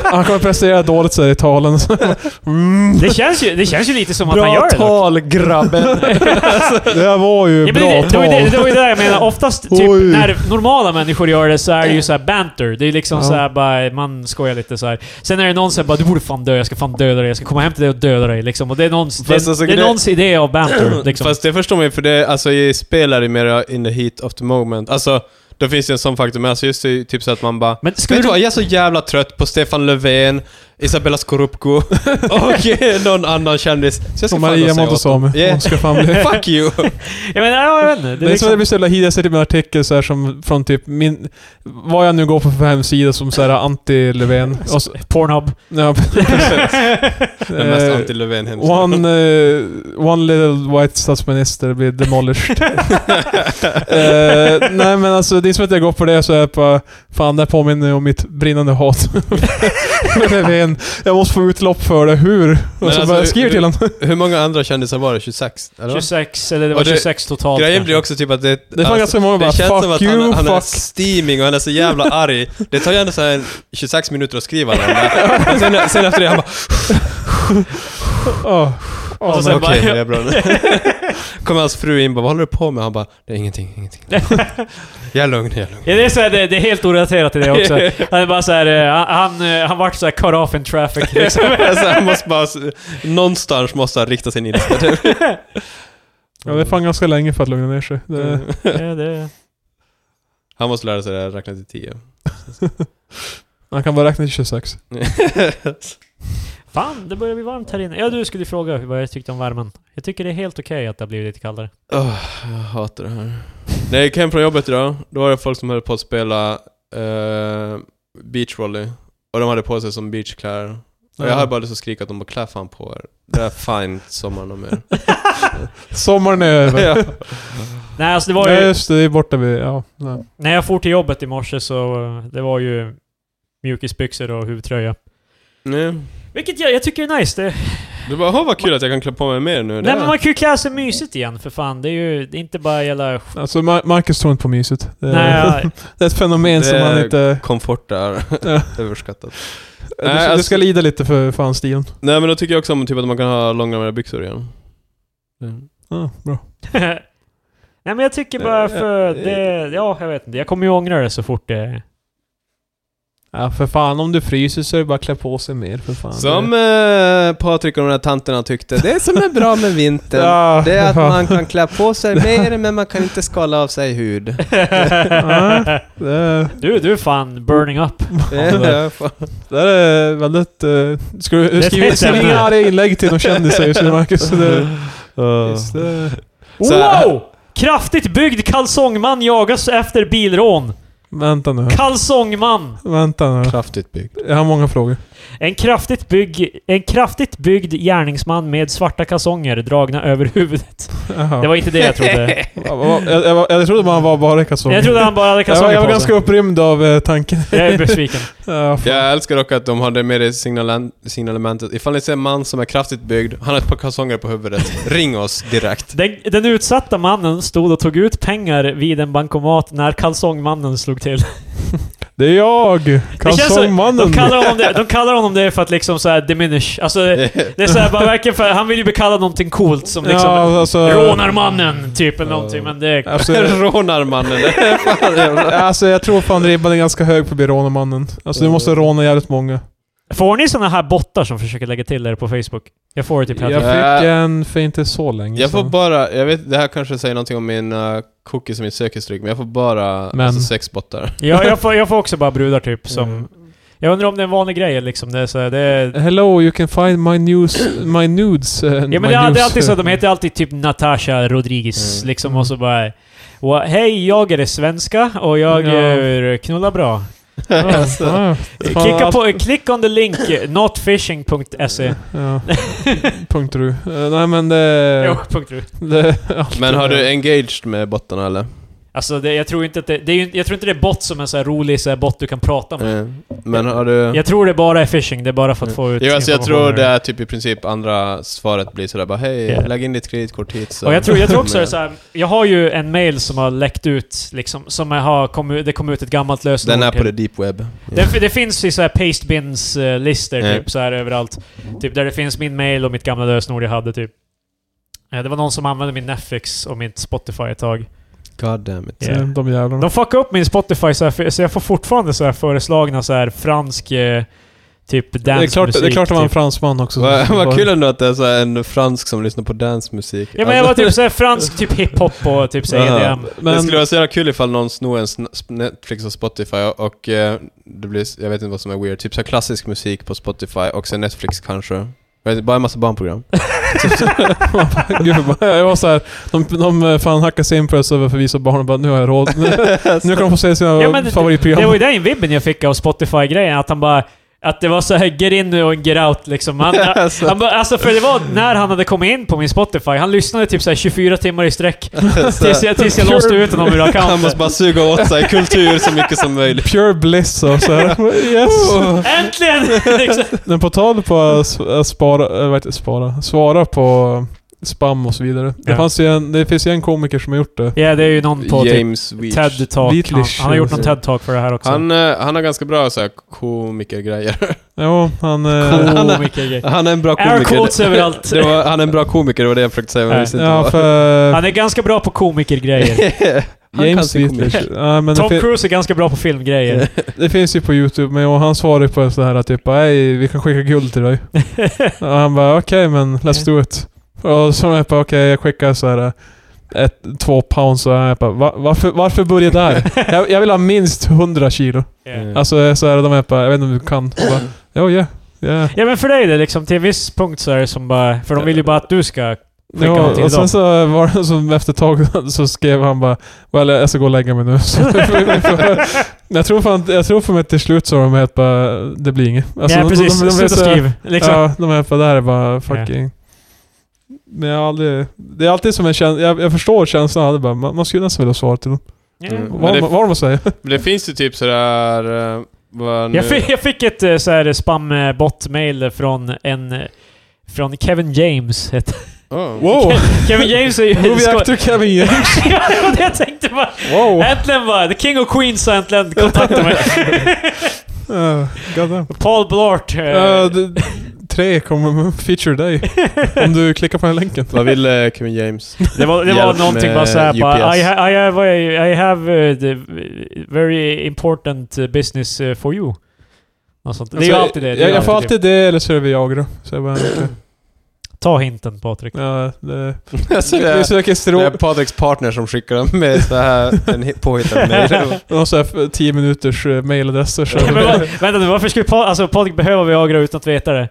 Han kommer prestera dåligt så här i talen. mm.
det, känns ju, det känns ju lite som att han gör det dock.
tal grabben!
Det här var ju
Ja, men
bra
det, det, var
tal.
ju det, det var ju det jag menar. Oftast typ,
Oj.
när normala människor gör det så är det ju så här banter. Det är liksom
Ja.
så här bara, man skojar lite så här. Sen är det någon som bara du borde fan dö, jag ska fan döda dig, jag ska komma hem till dig och döda dig liksom. Och det är någons, det,
Fast alltså,
det är
det-
någons idé av banter liksom.
Fast det förstår man ju, för det, alltså i spel är det mer in the heat of the moment. Alltså, då finns det en sån faktor, men alltså just det, typ så att man bara...
men
Vet
skulle
du
du...
vad, jag är så jävla trött på Stefan Löfven, Isabella Scorupco och någon annan kändis. Så jag
Och
ska
Maria
fan gå och säga åt dem.
Montazami.
Yeah.
Hon ska fan bli...
Fuck you!
Jag menar, ja, jag vet inte.
Det
Det
är
är
som att det
liksom,
blir så jävla jag ser typ en artikel så här som från typ min... Vad jag nu går på för hemsida som så här anti-Löfven. Och så-
Pornhub.
Ja,
Den mest
eh,
anti-Löfven hemsidan.
One, eh, one little white statsminister blir demolished. Eh, nej men alltså, det är som att jag går på det så är jag bara... Fan, det här påminner ju om mitt brinnande hat. Men Löfven, jag måste få utlopp för det. Hur?
Men
Och så
alltså,
bara, jag skriver till honom.
Hur många andra kändisar var det? 26? Eller?
26, eller det var
Och det-
26 totalt
Grejen
kanske.
blir också typ att det...
Det är fan ganska många bara,
det känns som
fuck
att
you,
han, han är
fuck...
steaming och han är så jävla arg. Det tar ju ändå så här 26 minuter att skriva den där. Men sen, sen efter det han bara
Ja. Ja,
Och så
men-
Okej,
bara-
det är bra nu. Kommer hans fru in bara vad håller du på med? Han bara det är ingenting, ingenting. Jag är lugn, jag är lugn.
Ja, det, är så här, det, det är helt orelaterat till det också. Han är bara så här, eh, han, han, eh, han vart så här cut off in traffic liksom.
så han måste bara, någonstans måste han rikta sin ilska typ. Mm.
Ja, det är fan ganska länge för att lugna ner sig. Det,
ja, det,
Han måste lära sig det här, räkna till 10.
Man kan bara räkna till 26.
Fan, det börjar bli varmt här inne. Ja, du skulle fråga vad jag tyckte om värmen. Jag tycker det är helt okej att det har blivit lite kallare.
Åh, jag hatar det här. När jag gick hem från jobbet idag, då var det folk som höll på att spela eh, beachvolley. Och de hade på sig som beachkläder. Och jag hade bara lust att skrika att de bara klä fan på er. Det är fine sommaren om er.
Sommaren är över.
ja.
Nej, alltså det var
Nej,
ju...
just det. Det är borta vid... Ja. Nej.
När jag for till jobbet i morse så eh, det var ju mjukisbyxor och huvtröja.
Nej.
Vilket jag, jag tycker är nice. Det,
Du bara, "Åh, vad kul att jag kan klä på mig mer nu. Det
nej men
är-
man kan ju klä sig mysigt igen för fan. Det är ju det är inte bara jävla...
Alltså, Ma- Marcus tror inte på myset. Det är,
Nej, jag-
det är ett fenomen
Det
som han
är-
inte...
Komfort är
Ja.
överskattat.
du, ska- du
alltså-
ska lida lite för, för hans stil.
Nej men då tycker jag också om typ att man kan ha långärmade byxor igen. Mm.
Ja, bra.
nej men jag tycker bara för... Det, ja, jag vet inte. Jag kommer ju ångra det så fort det...
Ja, för fan. Om du fryser så är det bara att klä på sig mer, för fan.
Som eh, Patrik och de där tanterna tyckte, det som är bra med
Det,
vintern,
ja,
det är att
ja.
man kan klä på sig mer men man kan inte skala av sig hud.
Ja. Det är,
du, du är fan burning up.
Det är fan-
det är väldigt... eh, Ska du
ett
skriva
hett
skriv
ämne.
inga arga inlägg till de kändisar just nu, Marcus. Det, just det.
Så här-
Wow! Kraftigt byggd kalsongman jagas efter bilrån.
Mm. Vänta nu.
Kalsongman!
Vänta nu.
Kraftigt byggd.
Jag har många frågor.
En kraftigt, bygg, en kraftigt byggd gärningsman med svarta kalsonger dragna över huvudet.
Jaha.
Det var inte det jag trodde.
Jag, jag, jag, jag trodde man var bara i kalsonger.
Jag trodde han bara hade
jag var,
kalsonger
jag var
på
ganska
sig.
upprymd av eh, tanken.
Jag är besviken.
Ja, fan.
Jag älskar dock att de hade med det signalen- signalementet, ifall ni ser en man som är kraftigt byggd, han har ett par kalsonger på huvudet, ring oss direkt.
Den, den utsatta mannen stod och tog ut pengar vid en bankomat när kalsongmannen slog till.
Det är jag!
känns så-
Kalsongmannen!
De kallar honom det, de kallar honom det för att liksom såhär diminish. Alltså, det är såhär bara verkligen för... Han vill ju bli kallad någonting coolt som liksom...
ja, alltså,
Rånarmannen, typ eller någonting. Men det...
Alltså,
Rånarmannen, det är fan jävla-
alltså jag tror fan ribban är ganska hög för att bli rånarmannen. Alltså du måste råna jävligt många.
Får ni såna här bottar som försöker lägga till er på Facebook? Jag får det typ hela
Jag
tiden.
fick en för inte så länge
Jag får
sedan.
bara, jag vet, det här kanske säger någonting om min uh, cookies och mitt sökhistorik, men jag får bara
Men.
alltså, sex bottar.
Ja, jag får, jag får också bara brudar typ som...
Mm.
Jag undrar om det är en vanlig grej liksom. Det är så här, det är,
Hello, you can find my news... My nudes... eh,
ja
my
men det är, det
news.
är alltid så, de heter alltid typ Natasha Rodriguez
Mm.
liksom och så bara... "Wa- Hej, jag är svenska och jag
Ja.
är knulla bra.
Alltså,
Ja,
Eh,
fan,
Klicka
allt-
på, click on the link notfishing.se.
Ja. Punkt ru. Eh, Nej men det...
Jo, punkt ru.
det allt-
Men har du engaged med bottarna eller?
Alltså det, jag tror inte att det, det är, ju- jag tror inte det är bot som är så här rolig så här bot du kan prata med.
Eh, Men har du...
Jag tror det bara är phishing, det är bara
Mm.
för att få ut
Jo, alltså jag
information.
tror det är typ i princip andra svaret blir sådär bara hej,
Ja.
lägg in ditt kreditkort hit så...
Och jag tror, jag tror också det är så här, jag har ju en mail som har läckt ut liksom, som jag har kommit, det kom ut ett gammalt lösenord
Den är på
till.
the deep web.
Det, det finns i så här pastebins-listor
Ja.
typ, så här överallt. Typ där det finns min mail och mitt gamla lösenord jag hade typ. Eh, Det var någon som använde min Netflix och mitt Spotify ett tag.
God damn it.
Ja.
Eh, De jävlarna.
De fuckade upp min Spotify så, här, för- så jag får fortfarande så här föreslagna så här fransk eh, typ
det, är
dancemusik.
klart, det är klart att man är en
typ.
fransman också.
Vad
som-
vad kul ändå att det är så här en fransk som lyssnar på dancemusik.
Ja men jag var typ så här fransk typ hiphop och typ så här
Ja.
EDM.
Det
Men,
skulle vara så jävla kul ifall någon snor en sn- sp- Netflix och Spotify och, och eh, det blir, s- jag vet inte vad som är weird, typ så här klassisk musik på Spotify och sen Netflix kanske. Jag vet inte, Bara en massa barnprogram.
gud, jag var såhär, de, de eh, fan hackade sig in på oss över för att visa barnen och bara nu har jag råd. nu kan de få se sina
Ja, men det-
favoritprogram.
Det var ju den vibben jag fick av Spotify-grejen, att han bara... Att det var så här get in nu och get out liksom. Han, han bara, alltså för det var när han hade kommit in på min Spotify, han lyssnade typ så här 24 timmar i sträck. tills, jag, tills jag låste ut honom ur
Han måste
accounten.
bara suga åt sig kultur så mycket som möjligt.
Pure bliss och så här. Yes!
Äntligen! liksom.
Men på tal på att s- att spara, eller vad heter det, spara, svara på spam och så vidare. Det,
Ja.
fanns ju en, det finns ju en komiker som har gjort det.
Ja, det är ju någon på typ
James Weech.
TED-talk. Han,
Weetlish.
han har gjort någon TED-talk för det här också.
Han, eh, han har ganska bra så här komikergrejer.
Jo, han... eh,
Cool. han är-
Komikergrej.
Han är en bra
Air
komiker.
quotes överallt.
Det var, han är en bra komiker, det var det jag försökte säga men jag
Nej.
visste inte
Ja,
vad.
för...
Han är ganska bra på komikergrejer.
Han kan
James
sin komik.
Whitlish. Ja, men det,
Tom
fin,
Cruise är ganska bra på filmgrejer.
det finns ju på YouTube, men och han svarade på så här att typ "Hej, vi kan skicka guld till dig. och han bara okej, men let's do it. Och så var jag bara okej, jag skickar så här eh, ett, två pounds så är jag bara, va, varför, varför börja där? jag, jag vill ha minst 100 kilo.
Mm.
Alltså så är det, de är bara, jag vet inte om du kan. Jag Bara, ja, ja. ja.
Ja men för dig är det liksom till en viss punkt så är det som bara... För de vill ju bara att du
Alltså,
ska... Skicka
Ja,
någonting
och
till dem.
sen så var det som efter ett tag så skrev han bara well, jag ska gå och lägga mig nu. Så, jag, tror fan, jag tror för mig till slut så har de helt bara, det blir inget. Alltså,
ja
de-
precis,
de- de- de-
sluta
så-
skriv. Liksom.
Ja, de är på det här är bara fucking... Men jag har aldrig... Det är alltid som en känsla, jag, jag förstår känslan, jag hade bara, man, man skulle nästan vilja svara till dem.
Ja.
Mm. Men
Vad
det-
de- vad de säger.
Men det finns ju typ sådär... eh, Vad nu?
Jag fick, jag fick ett eh, så här spam-bot-mail från en... eh, Från Kevin James. hette-
Oh.
Wow!
Kevin James är ju...
Movie-actor Kevin James.
ja, det var det jag tänkte bara.
Wow!
Äntligen bara, The King of Queens har äntligen kontaktat mig. Äh.
Uh, Goddamn.
Paul Blart. eh,
Eh, det- Tre kommer feature dig. Om du klickar på den här länken.
Vad vill eh, Kevin James?
Det var, det var
Hjälp
någonting
med
bara såhär bara, I,
UPS.
ha- I have, I have uh, the very important uh, business uh, for you. Något sånt. Det är ju
Alltså,
alltid det. det är
Jag,
ju
jag får
alltid det.
alltid det, eller så är det Viagra. Så jag bara, okej.
Ta hinten Patrik.
ja, det,
alltså, det,
vi
är,
söker
det är
stråk.
Patricks partner som skickar dem med så här en hit- påhittad mejl.
Och så här 10 minuters eh, mailadresser. Så
Men vad- vänta nu, varför skulle pa, alltså, Patrik behöva Viagra utan att veta det?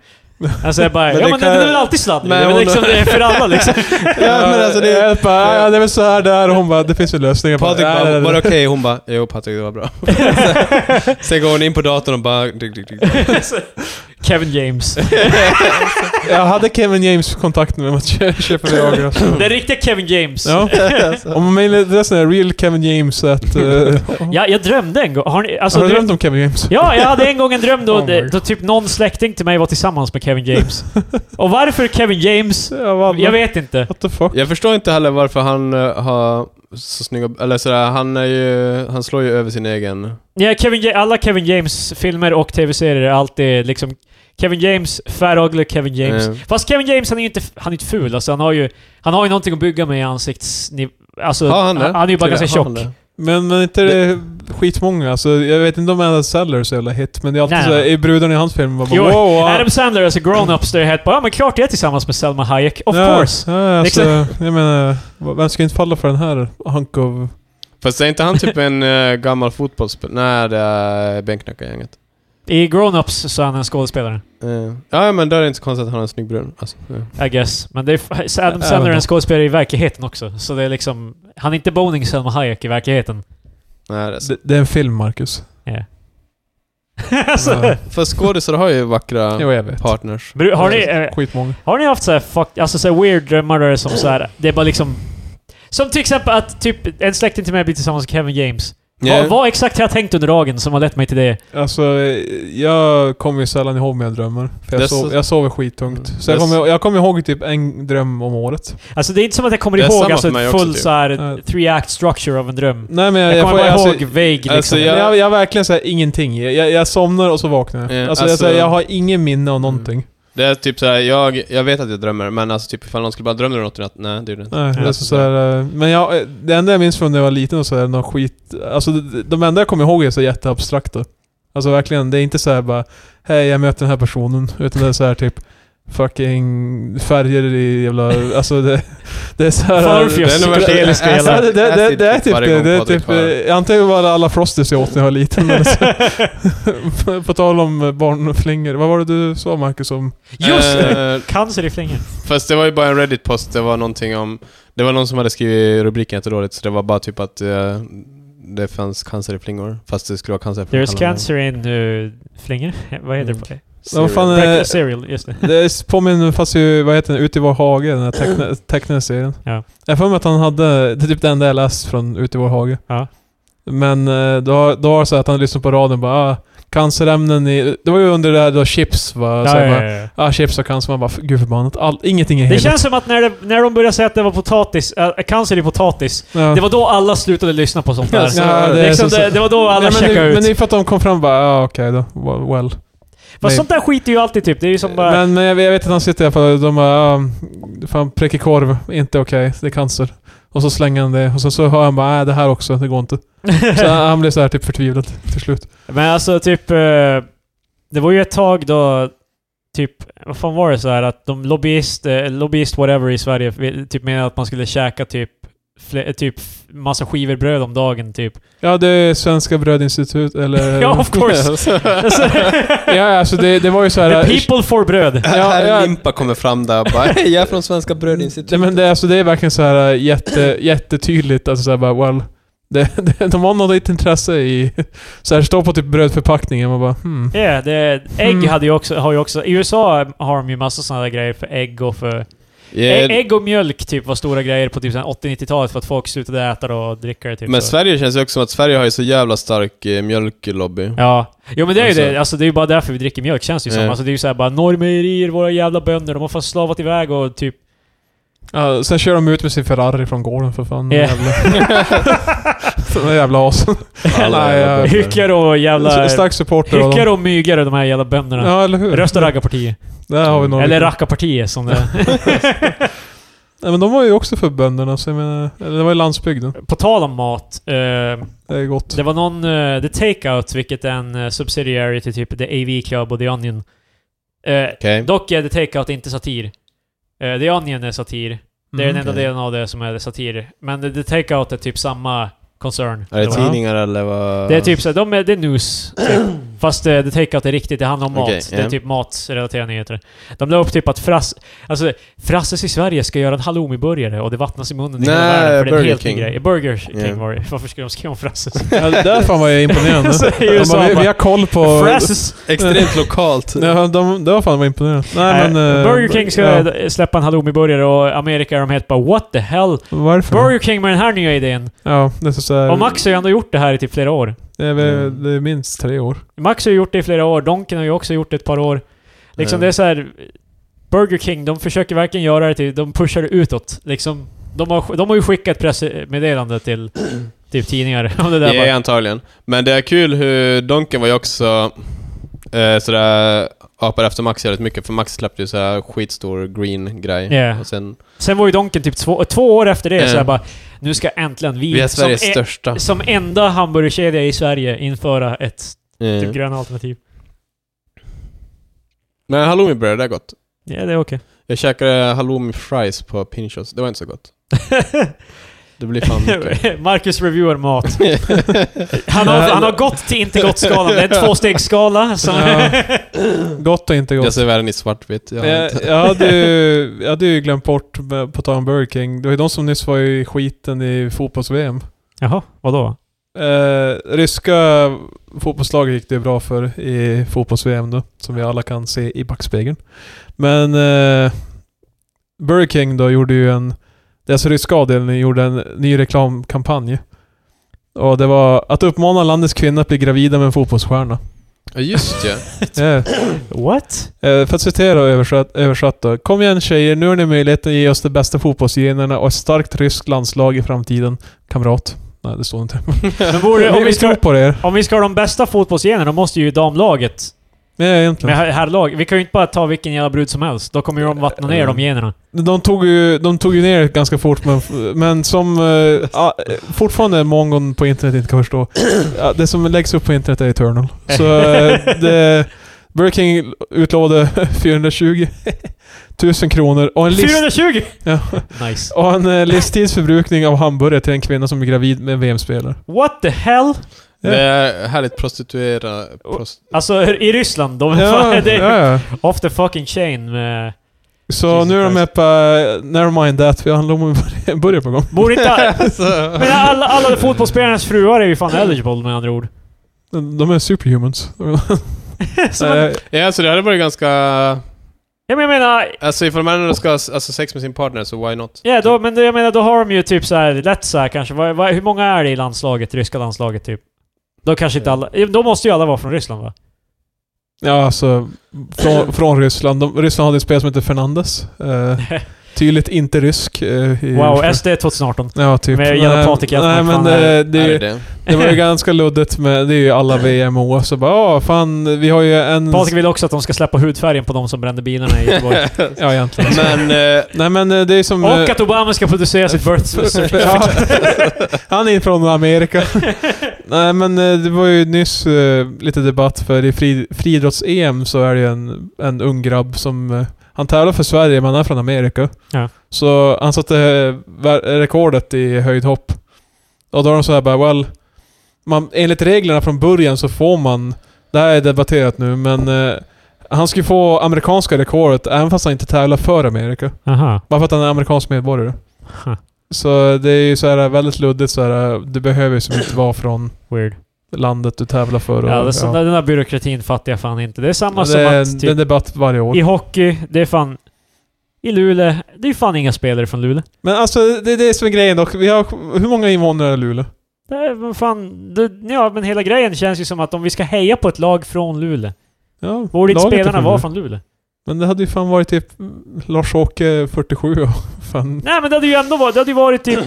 Alltså jag bara,
Men
ja
det
men
kan-
det är väl alltid sladdig?
Men
Det är väl
hon-
liksom, det är för alla liksom.
ja, men alltså det är...
jag bara, ja, det är väl så här där och hon bara, det finns ju lösningar.
Patrik
Jag bara,
bara,
nej,
var
nej,
det okej? Hon bara, jo Patrik det var bra. Sen går hon in på datorn och bara... Dig, dig, dig.
Kevin James.
nej. Jag hade Kevin James kontakt med om att kö- köpa Viagra. så.
Den riktiga Kevin James.
Ja.
Alltså.
Om mailadressen är real Kevin James att... eh,
Ja, jag drömde en gång. Har ni, alltså,
har du
du-
drömt om Kevin James?
Alltså, Ja, jag hade en gång en dröm då,
Oh my God.
då typ någon släkting till mig var tillsammans med Kevin James. Och varför Kevin James?
Jag, bara,
Jag vet inte.
What the fuck?
Jag förstår inte heller varför han eh, har så snygga... Eller sådär, han är ju... Han slår ju över sin egen...
Ja, Kevin, Ja- alla Kevin James-filmer och tv-serier är alltid liksom Kevin James, Fair Ugly, Kevin James.
Mm.
Fast Kevin James, han är ju inte, han är inte ful alltså. Han har ju, han har ju någonting att bygga med i ansiktsniv... Alltså,
Har han det?
han är ju bara
Till det,
ganska
har han
tjock.
det?
Men, men inte det... skitmånga. Alltså, jag vet inte om Adam Sandler är så jävla hit, men det är alltid
Nej,
så här,
nej.
i brudarna i hans film var bara
Jo,
wow, han-
Adam Sandler, alltså grown-ups, där är helt bara ja men klart jag är tillsammans med Selma Hayek. Of
ja,
course!
Ja, alltså, jag menar, v- vem ska inte falla för den här hunk of...
Fast är inte han typ en eh, gammal fotbollsspelare? Nej, det är bänknackargänget.
I grown-ups så är han en skådespelare.
Eh, Ja, men då är det inte så konstigt att han har en snygg brun. Alltså, ja.
I guess. Men det är, f- Adam
Ja,
Sandler är
men-
en skådespelare i verkligheten också. Så det är liksom... Han är inte boning Selma Hayek i verkligheten.
Nej, det är så.
Det, det är en film, Marcus.
alltså,
Ja.
För skådisar har ju vackra
Jo, jag vet.
partners.
bru- har, ni, eh,
Skitmånga.
har ni haft så här fuck, alltså så här weird drömmar där det är som så här, Det är bara liksom... Som till exempel att typ en släkting till mig blir tillsammans med Kevin James.
Ja.
Vad, vad exakt har jag tänkt under dagen som har lett mig till det?
Alltså, eh, jag kommer ju sällan ihåg mina drömmar. För
Det är
jag, sov,
så-
jag sover skittungt.
Mm.
Så
Det är
jag kommer,
så-
jag kommer ihåg typ en dröm om året.
Alltså det är inte som att jag kommer
Det är
ihåg
samma
alltså
för mig
ett
också,
full
typ.
så här
Ja.
three act structure av en dröm.
Nej men
Jag,
jag,
kommer
får...
bara
alltså,
ihåg vague liksom.
alltså,
jag,
jag-
jag, jag verkligen säger ingenting. Jag, jag, jag somnar och så vaknar jag.
Eh,
alltså, jag,
alltså-
säger, jag har ingen minne av någonting.
Det är typ såhär, jag, jag vet att jag drömmer, men alltså typ ifall någon skulle bara drömmer du något i natt? Nej, det gjorde jag inte.
Nej,
Ja.
alltså, så här, eh, men jag, eh, det enda jag minns från när jag var liten och så är någon skit... Alltså de- de enda jag kommer ihåg är så jätteabstrakta. Alltså verkligen, det är inte så här bara Hej, jag möter den här personen. Utan det är så här typ Fucking färger i jävla... Alltså det... Det är så här...
Farfjus.
Det är nog
psykedeliska
värsta-
Ja,
jävla-
det, det, det, det är typ
Varje
det.
gång
det är
Patrik
typ,
hör.
eh, antagligen var det alla Frosties jag åt när jag var liten. men så- På tal om barnflingor. Vad var det du sa Marcus om?
Just det!
Eh,
Cancer i flingan.
Fast det var ju bara en Reddit-post, det var någonting om... Det var någon som hade skrivit rubriken jättedåligt, så det var bara typ att eh, det fanns cancer i flingor. Fast det skulle vara cancer
There's cancer in uh, flingor. Vad heter
Mm.
det? på-
Vad fan är-
Breakfast cereal, just det.
Det är- påminner fast ju, vad heter den, Ute i vår hage, den här teckna- tecknade serien.
Ja.
Jag har för mig att han hade, det är typ det enda jag läst från Ute i vår hage.
Ja.
Men eh, då, har- då var det så här att han lyssnade på radion och bara ah, cancerämnen i... Det var ju under det här då chips va? så
Ja,
här,
ja,
Bara,
ja, ja.
ah, chips och cancer. Man bara, "F- gud förbannat. All, ingenting är
Det
heligt.
känns som att när, det, när de började säga att det var potatis, äh, cancer i potatis,
Ja.
det var då alla slutade lyssna på sånt där.
Ja, det är
liksom
så-
det, det var då alla
Nej, men,
checkade
det,
ut.
men det är för att de kom fram och bara, ah, okej då. Well. well."
Fast
nej.
sånt där skiter ju alltid typ. Det är ju som bara...
Men, men jag, jag vet att han sitter i alla fall de bara ah, Fan, prickig korv, inte okej, det är cancer. Och så slänger han det och så, så hör han bara nej det här också, det går inte. Så han, han blir så här typ förtvivlad till slut.
Men alltså typ... eh, Det var ju ett tag då... Typ, vad fan var det så här att de lobbyist, eh, lobbyist whatever i Sverige vi- typ menade att man skulle käka typ fle- typ f- massa skivor bröd om dagen typ.
Ja, det är Svenska Brödinstitut eller...
Ja, of course. Alltså,
ja, alltså det, det var ju så här...
the people får bröd.
Ja,
Herr
ja.
Limpa kommer fram där och bara Hej, jag är från Svenska
Nej,
Brödinstitutet.
men det, är- alltså, det är verkligen så här äh, jätte, jättetydligt. Alltså så här bara, well, det, det, de har något litet intresse i... Så här, står på typ brödförpackningen och bara hmm.
Ja, det, ägg
Mm.
hade ju också, har ju också... I USA har de ju massa sådana där grejer för ägg och för... Ä-
Yeah,
Ägg och mjölk typ var stora grejer på typ så här 80-90-talet för att folk slutade äta det och dricka det typ
men
så.
Sverige känns ju också som att Sverige har ju så jävla stark eh, mjölklobby.
Ja. Jo men det är ju
Alltså-
det, alltså det är ju bara därför vi dricker mjölk känns det ju som.
Ja.
Alltså det är ju såhär bara normerier, våra jävla bönder, de har fan slavat iväg och typ...
Ja, sen kör de ut med sin Ferrari från gården för fan.
Ja.
De där jävla asen.
Alla
Nej,
jävla
ja.
bönder.
Hycklar och jävla... eh,
Stark supporter av
Hycklar
dem.
och mygar och de här jävla bönderna.
Ja, eller hur?
Rösta raggarpartiet.
Där har vi några.
Eller rackarpartiet som det...
Nej, men de var ju också för bönderna, så jag menar, eller det var ju landsbygden.
På tal om mat. eh,
Det är gott.
Det var någon, eh, The Takeout, vilket är en eh, subsidiary till typ The AV Club och The Onion. Eh,
Okej.
dock är The Takeout inte satir. Eh, The Onion är satir.
Mm,
Det är den enda
okej.
delen av det som är satir. Men The- The Takeout är typ samma koncern.
Är det
Eller vad?
tidningar eller vad?
Det är typ såhär, de är, det är news. Typ. Fast eh, The Takeout är riktigt, det handlar om mat.
Okej,
Det är
ja.
typ matrelaterade nyheter. De la upp typ att Frass... Alltså, Frasses i Sverige ska göra en halloumiburgare och det vattnas i munnen i hela
Nej,
världen för det är en
Burger
helt ny
King.
grej. Burger King
Ja.
var det. Varför ska de skriva om Frasses?
Ja, det där fan var jag imponerande.
Så är ju
De
så
bara, vi,
bara-
vi har koll på...
Frasses!
Extremt lokalt.
Ja, de, det var fan vad imponerande. Nej,
Nej,
men... eh,
Burger King ska
ja.
släppa en halloumiburgare och i Amerika är de helt bara What the hell?
Varför?
Burger King med den här nya idén.
Ja, det är så
Eh,
så här,
Och Max har ju ändå gjort det här i typ flera år.
det, är, väl- det är minst tre år.
Max har ju gjort det i flera år, Donken har ju också gjort det ett par år. Liksom
Mm.
det är så här. Burger King, de försöker verkligen göra det till... De pushar det utåt. Liksom, de, har, de har ju skickat pressmeddelande till typ tidningar om det där.
Det är
Bara,
antagligen. Men det är kul hur Donken var ju också eh, sådär apar efter Max jävligt mycket, för Max släppte ju såhär skitstor green-grej.
Ja.
Och sen,
sen var ju Donken typ två, två år efter det så här
Mm.
bara... Nu ska äntligen vi...
vi är
som
Sveriges
e-
största.
Som enda hamburgerkedja i Sverige införa ett
Eh.
typ gröna alternativ.
Men halloumi-bröd, det är gott.
Ja, det är okej.
Jag käkade halloumi fries på Pinchos, det var inte så gott. Det blir fan mycket.
Marcus reviewar mat. Han har, han har gått till inte gott-skalan. Det är en tvåstegsskala. Som
Ja. Gott och inte gott.
Jag ser världen i svartvitt. Jag har
Jag,
inte-
Eh, jag, hade ju, jag hade ju glömt bort, eh, på tal om Burger King, det var ju de som nyss var i skiten i fotbolls-VM.
Jaha, vadå?
Eh, ryska fotbollslaget gick det ju bra för i fotbolls-VM då, som vi alla kan se i backspegeln. Men eh, Burger King då gjorde ju en, deras ryska avdelning gjorde en ny reklamkampanj. Och det var att uppmana landets kvinnor att bli gravida med en fotbollsstjärna. Eh,
Ja, just ja.
Yeah.
What?
Eh, För att citera och översatt, översatt då. Kom igen tjejer, nu har ni möjligheten att ge oss de bästa fotbollsgenerna och ett starkt ryskt landslag i framtiden. Kamrat. Nej, det står inte.
Men borde, om,
vi
vi
tror
ska,
på er.
om vi ska ha de bästa fotbollsgenerna, då måste ju damlaget,
Ja,
med
egentligen.
her- herrlag, vi kan ju inte bara ta vilken jävla brud som helst. Då kommer ju de vattna ner de generna.
De tog ju, de tog ju ner det ganska fort, men, men som... Eh, ja, eh, fortfarande mongon på internet inte kan förstå. Ja, det som läggs upp på internet är Eternal. Så eh, det... Burger King utlovade 420 000 kronor och en list...
420!
Ja.
Nice.
Och en eh, livstidsförbrukning av hamburgare till en kvinna som är gravid med en VM-spelare.
What the hell?
Det är härligt prostituera... Prost
Alltså, i Ryssland, de...
Ja,
det är
ja, ja.
Off the fucking chain med...
Så
Jesus
nu är de med
Christ.
på... eh, Never mind that, vi har en burgare på gång.
Borde inte... Alltså.
Så-
Men alla, alla fotbollsspelarnas fruar är ju fan eligible med andra ord.
De är superhumans.
Alltså, Så man,
Eh,
ja, så det hade varit ganska...
ja, men jag menar...
Alltså ifall man ska ha s- alltså, sex med sin partner, så why not?
Ja, då, men då, jag menar, då har de ju typ så här, lätt så här kanske. Vad- vad- hur många är det i landslaget, ryska landslaget typ? Då kanske
Eh.
inte alla... ja, Då måste ju alla vara från Ryssland va?
ja, alltså... Från, från Ryssland. De, Ryssland hade en spelare som heter Fernandes. Eh, tydligt inte rysk. eh, i-
Wow, SD 2018.
Ja, typ.
Med Jan
Nej,
Patrik
Nej,
Hjeltman,
men
fan,
eh,
Det är
det,
det.
det var ju ganska luddigt med... Det är ju alla VM och OS. Så bara, ja, fan, vi har ju en...
Patrik vill också att de ska släppa hudfärgen på de som brände bilarna i Göteborg.
Ja, egentligen.
Men... Eh,
Nej, men eh, det är som... eh,
Och att Obama ska producera sitt birth certificate.
Ja. Han är från Amerika. Nej men eh, det var ju nyss eh, lite debatt för i fri, friidrotts-EM så är det ju en, en ung grabb som eh, Han tävlar för Sverige, men han är från Amerika.
Ja.
Så han satte eh, vär- rekordet i höjdhopp. Och då är de så här bara, well... Man, enligt reglerna från början så får man... Det här är debatterat nu, men... Eh, han skulle få amerikanska rekordet även fast han inte tävlar för Amerika.
Aha.
Bara för att han är amerikansk medborgare.
Huh.
Så det är ju så här väldigt luddigt så här. Du behöver ju som inte vara från
Weird.
landet du tävlar för. Och,
Ja, det är så, Den där byråkratin fattar jag fan inte. Det är samma
Ja,
som
det är
att
en,
typ,
en debatt varje år.
i hockey, det är fan... I Luleå, det är fan inga spelare från Luleå.
Men alltså det är det som är grejen dock. Vi har, hur många invånare är Luleå?
Det är vad fan... Det, ja, men hela grejen känns ju som att om vi ska heja på ett lag från Luleå,
Ja,
borde inte
laget är
spelarna
från
vara
Luleå.
från Luleå?
Men det hade ju fan varit typ Lars-Åke 47 och fan
Nej men det hade ju ändå varit... Det hade ju varit typ...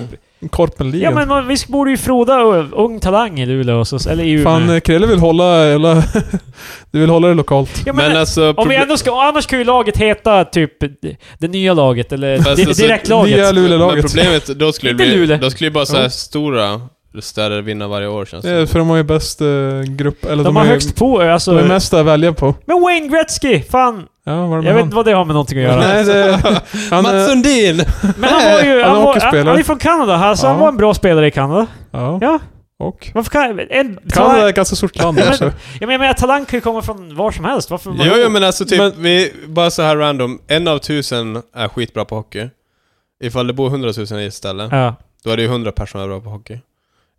Korpenligan.
ja men man, vi borde ju froda ö- ung talang i Luleå och så, eller i Umeå.
fan eh, Krille vill hålla... Eller, du vill hålla det lokalt.
ja, men,
Men alltså...
om vi
proble-
ändå ska... Annars kan ju laget heta typ det- det nya laget, eller
Fast
di,
alltså,
direktlaget.
nya Luleå-laget.
Men problemet, då skulle det
Inte
bli...
Luleå.
Då skulle ju bara såhär
Jo.
stora städer vinna varje år känns
Det är
det
för de har ju bäst eh, grupp... Eller de,
de, har
är,
högst på... Alltså,
De är mest att välja på.
Men Wayne Gretzky! Fan!
Ja, vad är det med
Jag vet
han?
inte vad det har med någonting att göra.
Nej, det, han, eh,
Mats Sundin!
Men han var ju...
Han är
Han, var,
hockeyspelare.
han, han är från Kanada, alltså
Ja.
han var en bra spelare i Kanada.
ja.
Ja.
Och?
Varför kan... En,
Kanada är
talang,
ett ganska stort land
Ja, men-
också.
jag menar, talang kan ju komma från var som helst. Varför
Jo, jo men alltså typ,
Men-
vi, bara så här random, en av tusen är skitbra på hockey. Ifall det bor hundratusen i ett ställe,
Ja.
då är det ju hundra personer som är bra på hockey.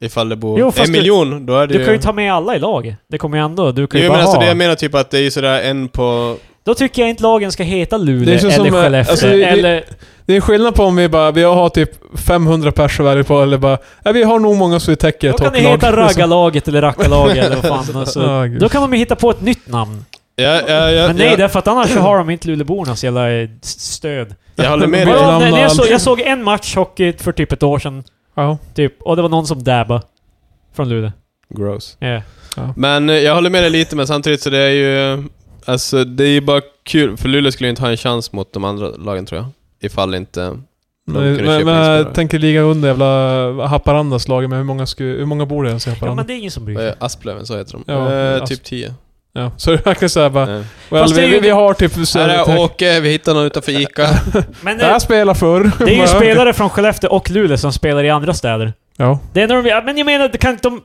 Ifall det bor
Jo,
en
fast du-
miljon, då är det
Du kan ju ta med alla i laget. Det kommer ju ändå... Du kan ju
Jo
bara
men alltså
ha.
det jag menar typ att det är ju sådär en på...
Då tycker jag inte lagen ska heta Luleå
Det känns
eller
som, eh,
Skellefteå
alltså, det-
eller...
Det är skillnad på om vi bara, vi har typ 500 personer varje på eller bara, nej, vi har nog många så vi täcker
Då
ett
kan ni
hockeylag." liksom.
heta Raggarlaget eller Rackarlaget eller vad fan. Alltså.
Ja, gud.
Då kan de ju hitta på ett nytt namn.
Ja, ja, ja,
Men nej,
jag,
därför att annars så har de inte Luleåbornas jävla eh, s- stöd.
jag håller med dig.
Vadå?
Ja,
namn
nej,
och
jag,
allt.
såg, jag såg en match hockey för typ ett år sedan,
Ja.
typ, och det var någon som dabbade. Från Luleå.
Gross.
Ja.
Men eh, jag håller med dig lite, men samtidigt så det är ju... eh, Alltså det är ju bara kul, för Luleå skulle ju inte ha en chans mot de andra lagen tror jag. Ifall inte... De
Men,
kunde
men,
köpa
men
inspelare.
jag tänker ligga under jävla Haparandas lag, men hur många, sku, hur många bor det ens i
ja,
Haparanda?
men det är ingen som bryr
Vad
sig.
är Asplöven, så heter de.
Ja,
eh,
Asp-
typ 10.
Ja, Så det är verkligen såhär bara,
Nej.
well,
Fast det är
vi,
ju-
vi, vi har typ... Så
Här är Åke, vi hittar någon utanför Ica.
Men
där
eh,
spelar förr.
det är ju
Bara,
spelare från Skellefteå och Luleå som spelar i andra städer.
Ja.
Det enda de... ja, Men jag menar, det kan inte de...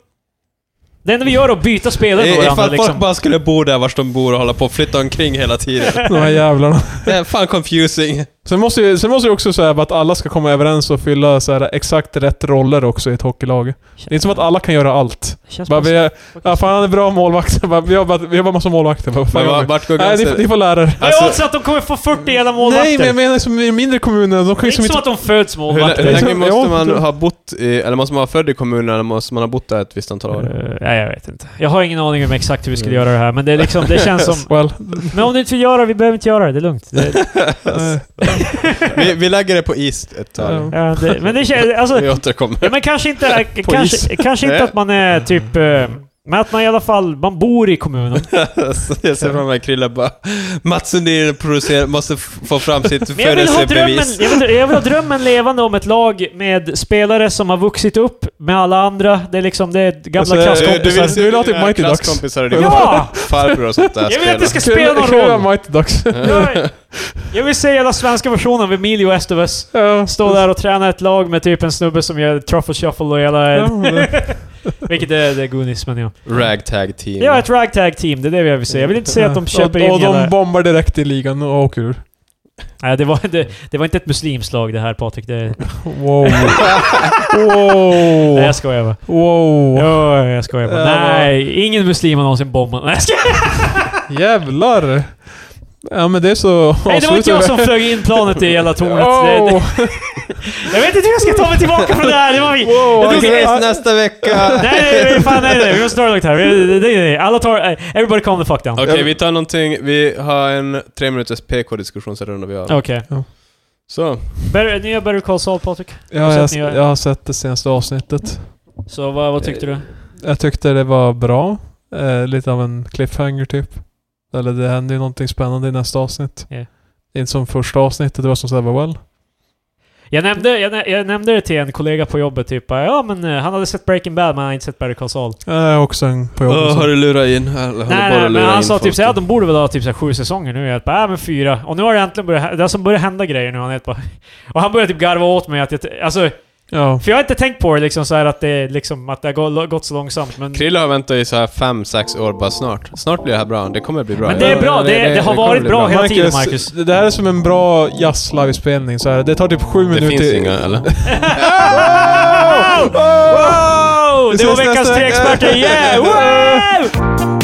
Det enda vi gör är att byta spelare
Eh,
med
I-
varandra
Ifall
liksom.
folk bara skulle bo där vars de bor och hålla på och flytta omkring hela tiden.
De här jävlarna.
Det är fan confusing.
Sen måste ju, sen måste ju också säga att alla ska komma överens och fylla så här, exakt rätt roller också i ett hockeylag. Det är inte som att alla kan göra allt.
Känns
Bara,
bara-
vi, är- ja, fan han är bra målvakt. Bara, Vi har bara, vi har bara massa målvakter. Bara, fan,
Men
gör
va-
vi?
vart går
Nej, ni, får- ni
gränsen?
får lära er.
Vad är
Alltså-
oddsen att de kommer få 40 jävla målvakter?
Nej, men jag menar som i mindre kommuner, de
det
kan
är
ju
inte
som inte...
som att de föds
Hur, lä-
målvakter.
hur länge måste
Ja,
man
det-
ha bott i, eller måste man vara född i kommunen eller måste man ha bott där ett visst antal år?
Eh, nej, jag vet inte. Jag har ingen aning om exakt hur vi
Mm.
skulle göra det här, men det, är liksom, det känns som...
Well,
Men om du inte vill göra det, vi behöver inte göra det. Det är lugnt. Det,
eh,
Vi, vi lägger det på is ett tag.
Ja.
ja, det, men det känns... Alltså,
Vi återkommer.
ja, men kanske inte,
På
kanske, kanske inte att man är typ... eh, men att man i alla fall man bor i kommunen.
Så jag ser framför mig Krilla bara... Mats Sundin producerar- måste f- få fram sitt
Men jag vill, ha drömmen,
födelsebevis.
jag, vill, jag vill ha drömmen levande om ett lag med spelare som har vuxit upp med alla andra. Det är liksom det är gamla
Alltså, du-
klasskompisar.
du vill- du vill ha typ
dina
Mighty Ducks.
Klasskompisar och dina
Ja!
farbror och sånt där
Jag vill att det ska
Kul-
spela någon
kul
roll.
att Mighty Ducks.
Jag, jag vill se hela svenska versionen av Emilio Estevez.
Ja.
Stå där och träna ett lag med typ en snubbe som gör truffle shuffle och hela...
Ja, det-
Vilket är, det är Goonies, men ja.
Ragtag team.
Ja, ett ragtag team. Det är det jag vill se. Jag vill inte se att de köper
och,
in
och
hela...
de bombar direkt i ligan och åker ur.
Nej, det var, det, det var inte ett muslimskt lag det här Patrik. Det,
Wow. wow.
nej, jag skojar bara.
Wow.
Oh, jag skojar bara.
Ja, vad-
Nej, ingen muslim har någonsin bombat. Nej, jag skojar.
Jävlar. Ja men det är så...
Nej, det var inte jag som flög in planet i hela tornet. Det, det,
Wow.
jag vet inte hur jag ska ta mig tillbaka från det här. Det var vi.
Wow.
Jag
Vi
tog-
ses nästa vecka!
Nej, nej, nej, fan nej, nej. Vi måste dra det långt här. Vi- det- det- det- Alla tar... eh, Everybody calm the fuck down.
Okej, vi tar någonting. Vi har en tre minuters PK-diskussionsrunda vi har.
Okej.
Så.
Okay. Nya Better Call Saul, Patrik.
Ja, jag,
Fortsätt ni göra.
jag har sett det senaste avsnittet.
Så vad, vad tyckte du?
Jag tyckte det var bra. Eh, lite av en cliffhanger typ. Eller det hände ju någonting spännande i nästa avsnitt.
Ja.
Inte som första avsnittet, det var som såhär, well.
Jag nämnde, jag, nä- jag nämnde det till en kollega på jobbet, typ bara, ja men eh, han hade sett Breaking Bad men han hade inte sett Better Call Saul.
Äh, också en på jobbet.
Åh, har du lurat in? Eller håller
Nej,
bara
nej
att
men
lura
han
in
sa
folk
typ såhär, ja,
till-
de borde väl ha typ så här sju säsonger nu. Jag bara, äh, men fyra. Och nu har det äntligen börjat, hä- det har som börjat hända grejer nu. Han är bara, och han börjar typ garva åt mig att jag, t- alltså,
Ja.
för jag har inte tänkt på det liksom så här att det är liksom, att det har gå- gått så långsamt. Men,
Krille har väntat i så här 5-6 år bara snart. Snart blir det här bra. Det kommer bli bra.
Men det är bra. Det- det har
kommer
varit
bli
bra hela- tiden, Marcus.
Det det här är som en bra jazz-livespelning. så här. Det tar typ sju
Det
minuter.
finns inga, eller?
wow! Wow!
Vi
Det var
Oh!
ses
veckans
nästa
tre
vecka.
experter, yeah! Wow!